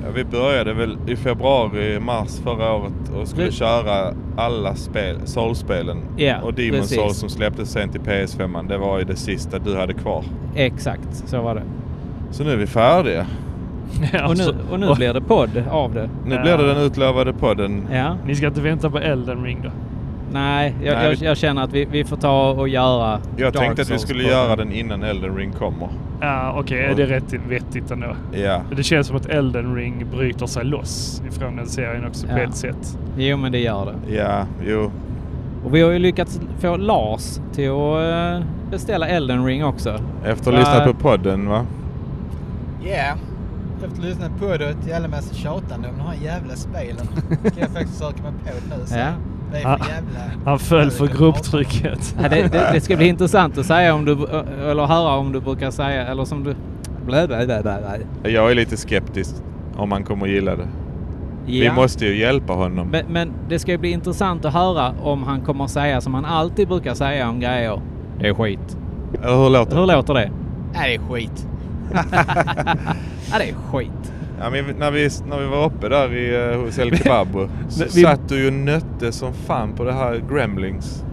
ja. Vi började väl i februari, mars förra året och skulle Det- köra alla spel, Soul-spelen. Ja, och Demon precis. Soul som släpptes sen till PS5, det var ju det sista du hade kvar. Exakt, så var det. Så nu är vi färdiga. Ja, Och nu, så- och nu blir det podd av det. Nu Ja. blir det den utlovade podden. Ja. Ni ska inte vänta på Elden Ring då? Nej, jag, Nej, jag, vi- jag känner att vi, vi får ta och göra Jag Dark tänkte att vi Souls skulle på göra den innan Elden Ring kommer. Ja, okej. Är det rätt vettigt ändå? Ja. Det känns som att Elden Ring bryter sig loss ifrån den serien också på Ja. ett sätt. Jo, men det gör det. Ja, jo. Och vi har ju lyckats få Lars till att eh, beställa Elden Ring också. eh, Efter att ha lyssnat Ja. på podden va? Ja. Efter att ha lyssnat på det och ett jävla massa tjatande om de här jävla spelen. kan jag faktiskt försöka mig på nu. Så. Ja. Det är Ah. för jävla... Han föll för Jag hatar grupptrycket. Ja, det, det, det ska bli intressant att säga om du, eller höra om du brukar säga, eller som du... Blä, blä, blä, blä, blä. Jag är lite skeptisk om han kommer att gilla det. Vi Ja. måste ju hjälpa honom. Men, men det ska ju bli intressant att höra om han kommer att säga som han alltid brukar säga om grejer. Det är skit. Eller hur låter Hur låter det? Nej, det är skit. ja, det är skit. Ja, men när, vi, när vi var uppe där i, eh, hos El Kebab så Vi- satt du ju och nötte som fan på det här Gremlings.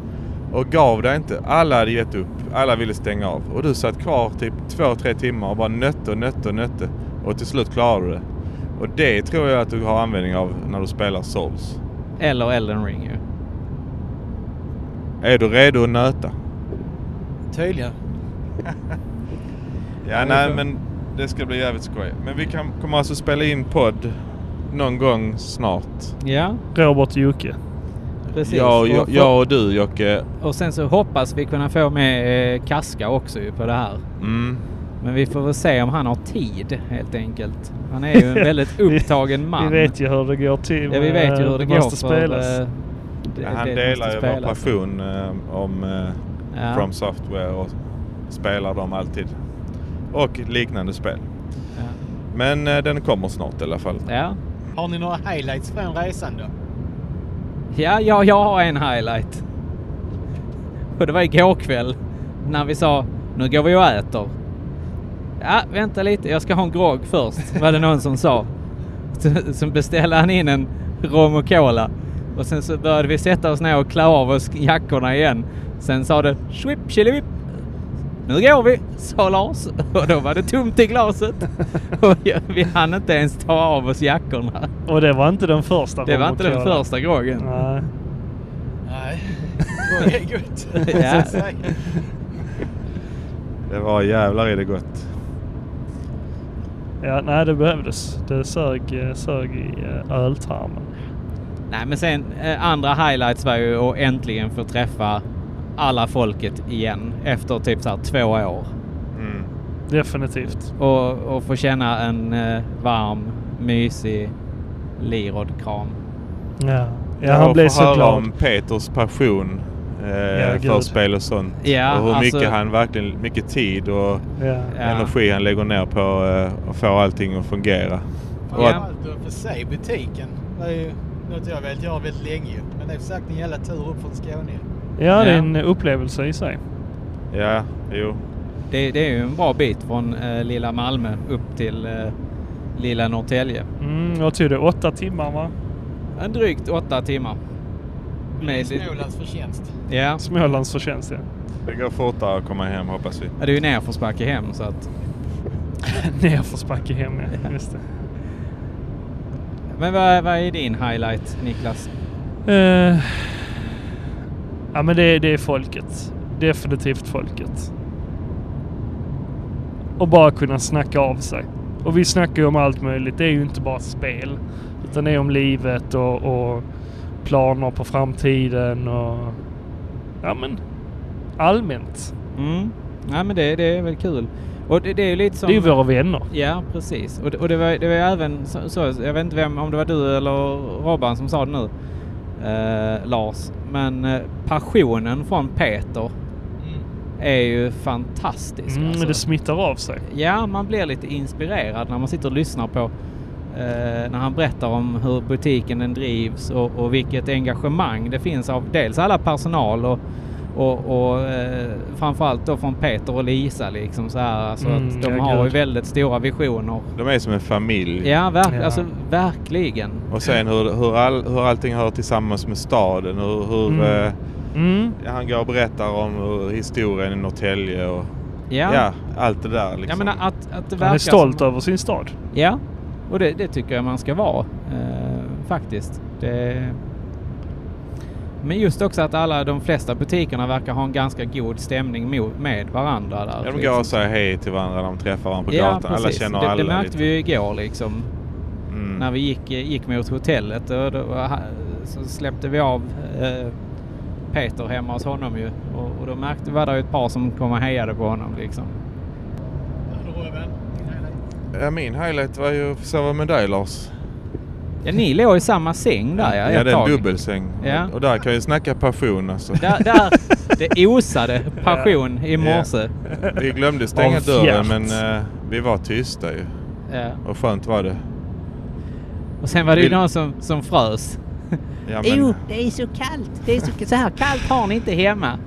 Och gav dig inte. Alla hade gett upp. Alla ville stänga av. Och du satt kvar typ två, tre timmar och bara nötte och nötte och nötte. Och till slut klarade du det. Och det tror jag att du har användning av när du spelar Souls. Eller Elden Ring ju. Är du redo att nöta? Tydligen. Ja, nej men det ska bli jävligt skoj. Men vi kan, kommer alltså spela in podd någon gång snart. Ja, Robert och Jocke. precis. Jag, jag, och, jag och du Jocke. och sen så hoppas vi kunna få med eh, Kaska också ju på det här. Mm. Men vi får väl se om han har tid helt enkelt. Han är ju en väldigt upptagen man. Vi vet ju hur det går till. eh, ja, vi vet ju hur det, går måste för... spelas. eh, det- Ja, han det delar måste ju vår spelas. passion eh, om eh, Ja. From Software och spelar dem alltid. Och liknande spel. Men eh, den kommer snart i alla fall. Ja. Har ni några highlights från resan då? Ja, ja, jag har en highlight. Och det var igår kväll när vi sa nu går vi och äter. Ja, vänta lite, jag ska ha en grogg först, var det någon som sa. Så- Så beställde han in en rom och cola. Och sen så började vi sätta oss ner och klä av oss jackorna igen. Sen sa det swip, chilivipp. Nu går vi, sa Lars. Och då var det tomt i glaset. Och jag- vi hann inte ens ta av oss jackorna. Och det var inte den första Det var inte den robotkjolen. första groggen. Nej. Nej. Det är gott. Ja. Så att säga. Det var jävlar i det gott. Ja, nej, det behövdes. Det sög, eh, sög i eh, öltarmen. Nej, men sen eh, andra highlights var ju att äntligen få träffa alla folket igen efter typ så här två år. Mm. Definitivt. Och, och få känna en eh, varm, mysig Lirod-kram. Ja, ja Och han blev få så höra glad. om Peters passion eh, för gud. spel och sånt. Ja, och hur alltså- mycket han verkligen, mycket tid och Ja. Ja. energi han lägger ner på eh, att få allting att fungera. Och att Framförallt att få se butiken. Det är ju något jag velat göra väldigt länge. Men det är sagt en jävla tur upp från Skåne. ja, det är Ja. en upplevelse i sig. Ja, jo. Det, det är ju en bra bit från eh, lilla Malmö upp till eh, lilla Norrtälje. Mm, vad tog det? Åtta timmar, va? En drygt åtta timmar. Med, Smålands förtjänst. ja. Smålands förtjänst, ja. Det går fortare att komma hem hoppas vi. Ja, Det är ju nerförsbacke hem så att... Nerförsbacke hem, ja. Just det. Men vad, vad är din highlight, Niklas? Eh, ja men det, det är folket. Definitivt folket. Och bara kunna snacka av sig. Och vi snackar ju om allt möjligt. Det är ju inte bara spel. Utan det är om livet och, och planer på framtiden och... Ja men... Allmänt. Mm. Nej, men det, det är väl kul. Och det, det är ju lite som... Det är ju våra vänner. Ja, precis. Och, det- och det, var, det var ju även så, så, jag vet inte vem, om det var du eller Robban som sa det nu, eh, Lars. Men eh, passionen från Peter är ju fantastisk. Mm, alltså. Det smittar av sig. Ja, man blir lite inspirerad när man sitter och lyssnar på eh, när han berättar om hur butiken den drivs och, och vilket engagemang det finns av dels alla personal och, och, och eh, framförallt då från Peter och Lisa liksom så här. Alltså Mm, att de ja, har ju gud. väldigt stora visioner. De är som en familj. Ja, verk- Ja. Alltså, verkligen. Och sen hur, hur, all, hur allting hör tillsammans med staden. Hur, hur, Mm. eh, Mm. han går och berättar om hur historien i Norrtälje och Ja. ja. allt det där. Jag Liksom. menar att, att det verkar Han är stolt som, över sin stad. Ja, och det, det tycker jag man ska vara eh, faktiskt. Det... Men just också att alla de flesta butikerna verkar ha en ganska god stämning mo- med varandra. Där, Ja, de går liksom. och säger hej till varandra när de träffar varandra på Ja, gatan. alla precis. känner det, alla. det märkte lite. vi ju igår liksom. Mm. När vi gick, gick mot hotellet och då, och ha- så släppte vi av eh, Peter hemma hos honom ju. Och, och då märkte var det ju ett par som kom och hejade på honom liksom. Robin, din highlight? ja, min highlight var ju att sova med dig Lars. Ja, ni låg i samma säng där ja, ja ett det är en tag. dubbelsäng. Ja. Och, och där kan ju snacka passion alltså. Där, där det osade passion i morse. Vi glömde stänga Av fjärt. dörren men eh, vi var tysta ju. Ja. Och skönt var det. Och sen var det ju Vill- någon som, som frös. Ja, men, det är så kallt. Det är så, så här kallt har ni inte hemma.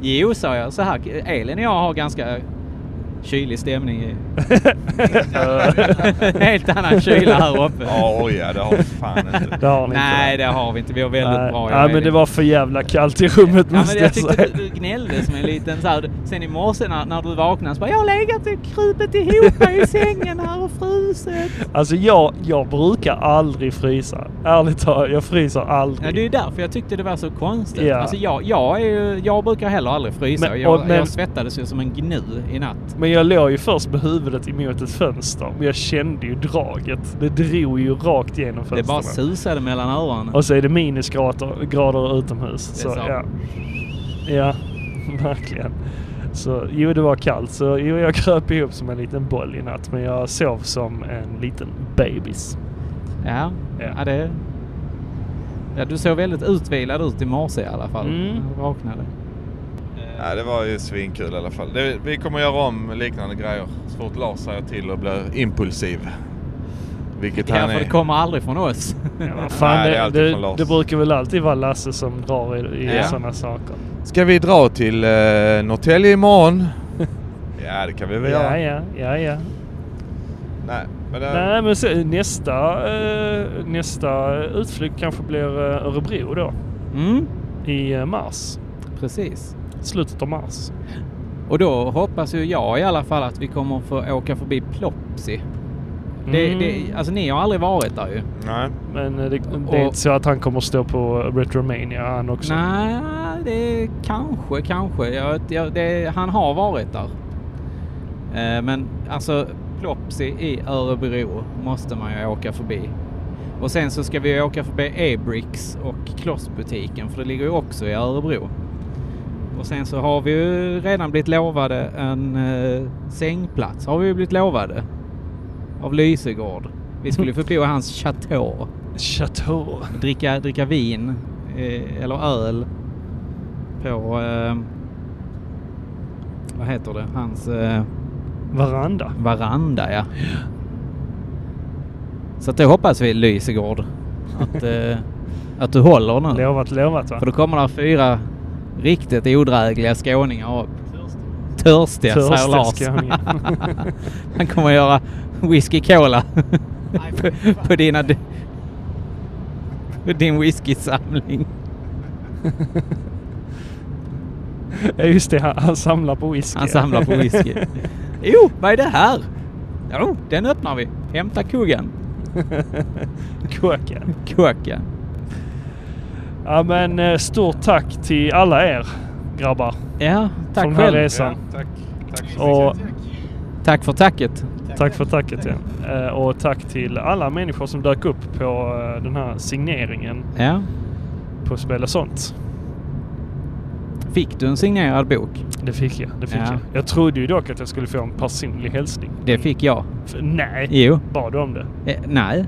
Jo, sa jag. Så här, Elin och jag har ganska kylig stämning i... Helt annan kyla här uppe. Ja, ja, det har vi fan inte. Det har ni Nej, inte. det har vi inte. Vi har väldigt Nej. bra. Nej, men det var för jävla kallt i rummet Ja, måste men jag jag tyckte säga. du, du gnällde som en liten så här. Sen i morse när, när du vaknade så bara jag har legat och krupit ihop mig i sängen här och frusit. Alltså jag, jag brukar aldrig frysa. Ärligt talat, jag fryser aldrig. Ja, det är ju därför jag tyckte det var så konstigt. Ja. Alltså jag, jag, är ju, jag brukar heller aldrig frysa. Men- jag, och- men- jag svettades ju som en gnu i natt. Men jag låg ju först med huvudet emot ett fönster. Men jag kände ju draget. Det drog ju rakt genom Det fönstren. bara susade mellan öronen. Och så är det minusgrader grader utomhus. Så, sant. ja. ja, verkligen. Så jo, det var kallt. Så jo, jag kröp ihop som en liten boll i natt. Men jag sov som en liten bebis. Ja, Ja. ja. det... Ja, du såg väldigt utvilad ut i morse i alla fall. Mm. när du Vaknade. Ja, det var ju svinkul i alla fall. Det, vi kommer göra om liknande grejer så fort Lars säger till och blir impulsiv. Vilket Ja, han för det är. kommer aldrig från oss. Ja, vad fan, Nej, det är det, alltid det, från Lars. det brukar väl alltid vara Lasse som drar i, i Ja. sådana saker. Ska vi dra till eh, Norrtälje imorgon? ja, det kan vi väl Ja, göra. ja, ja, ja. Nej, men eh, det, Nej, men så, nästa, eh, nästa utflykt kanske blir eh, Örebro då. Mm, I eh, mars. precis. Slutet av mars. Och då hoppas ju jag i alla fall att vi kommer få åka förbi Plopsi. Det, Mm. det, alltså ni har aldrig varit där ju. nej. Men eh, det, det är Och- inte så att han kommer stå på Retromania han också. Nej, det kanske, kanske. Jag, jag, det, han har varit där. Eh, men alltså Plopsi i Örebro måste man ju åka förbi. Och sen så ska vi åka förbi Ebrix och Klossbutiken för det ligger ju också i Örebro. Och sen så har vi ju redan blivit lovade en eh, sängplats. Har vi ju blivit lovade. Av Lysegård. Vi skulle ju få bo i hans chateau Chateau. dricka, dricka vin eh, eller öl på, eh, vad heter det, hans eh, Varanda. veranda. Ja. Så att det hoppas vi Lysegård att, eh, att du håller nu. Lovat, lovat va? För då kommer där fyra riktigt odrägliga skåningar upp. Törstiga Törstiga, säger skåningar. Lars. Han kommer göra whisky cola på, på, dina, på din whiskysamling. Ja just det, han, han samlar på whisky. Han samlar på whisky. jo, vad är det här? Jo, den öppnar vi. Hämta kuggen. Kåken. Kåken. Ja men eh, stort tack till alla er grabbar. Ja, tack Från själv. Harrys. Ja, sant. tack. Tack så 哦 Och mycket. Tack för tacket. tack för tacket ja. Eh, Och tack till alla människor som dök upp på eh, den här signeringen Ja. på Spel och sånt. Fick du en signerad bok? Det fick jag. Det fick Ja. jag. jag trodde ju dock att jag skulle få en personlig hälsning. Det fick jag. F- Nej, Jo. bad du om det? Eh, nej.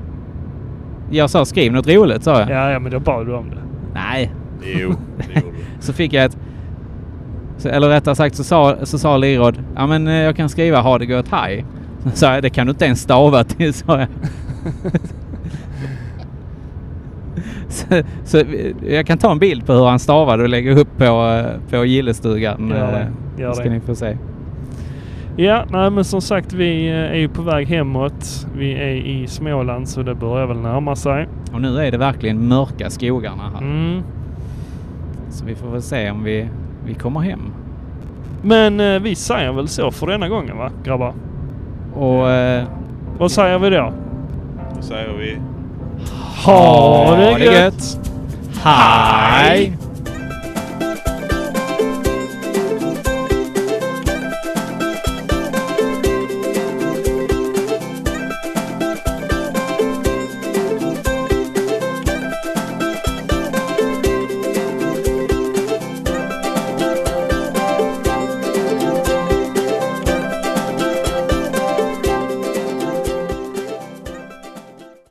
Jag sa skriv något roligt sa jag. Ja, ja men då bad du om det. Nej. Jo, det gjorde du. Så fick jag ett... Så, eller rättare sagt så sa, så sa Lirod, ja men eh, jag kan skriva ha det gött hej. Så sa jag, det kan du inte ens stava till, sa jag. så, så vi- jag kan ta en bild på hur han stavade och lägga upp på, eh, på gillestugan. Gör det, eh, gör ska det. ni få se. Ja, nej men som sagt vi eh, är ju på väg hemåt. Vi är i Småland så det börjar väl närma sig. Och nu är det verkligen mörka skogarna här. Mm. Så vi får väl se om vi, vi kommer hem. Men eh, vi säger väl så för denna gången va, grabbar? Och eh, Vad säger vi då? Då säger vi Ha det gött. hej!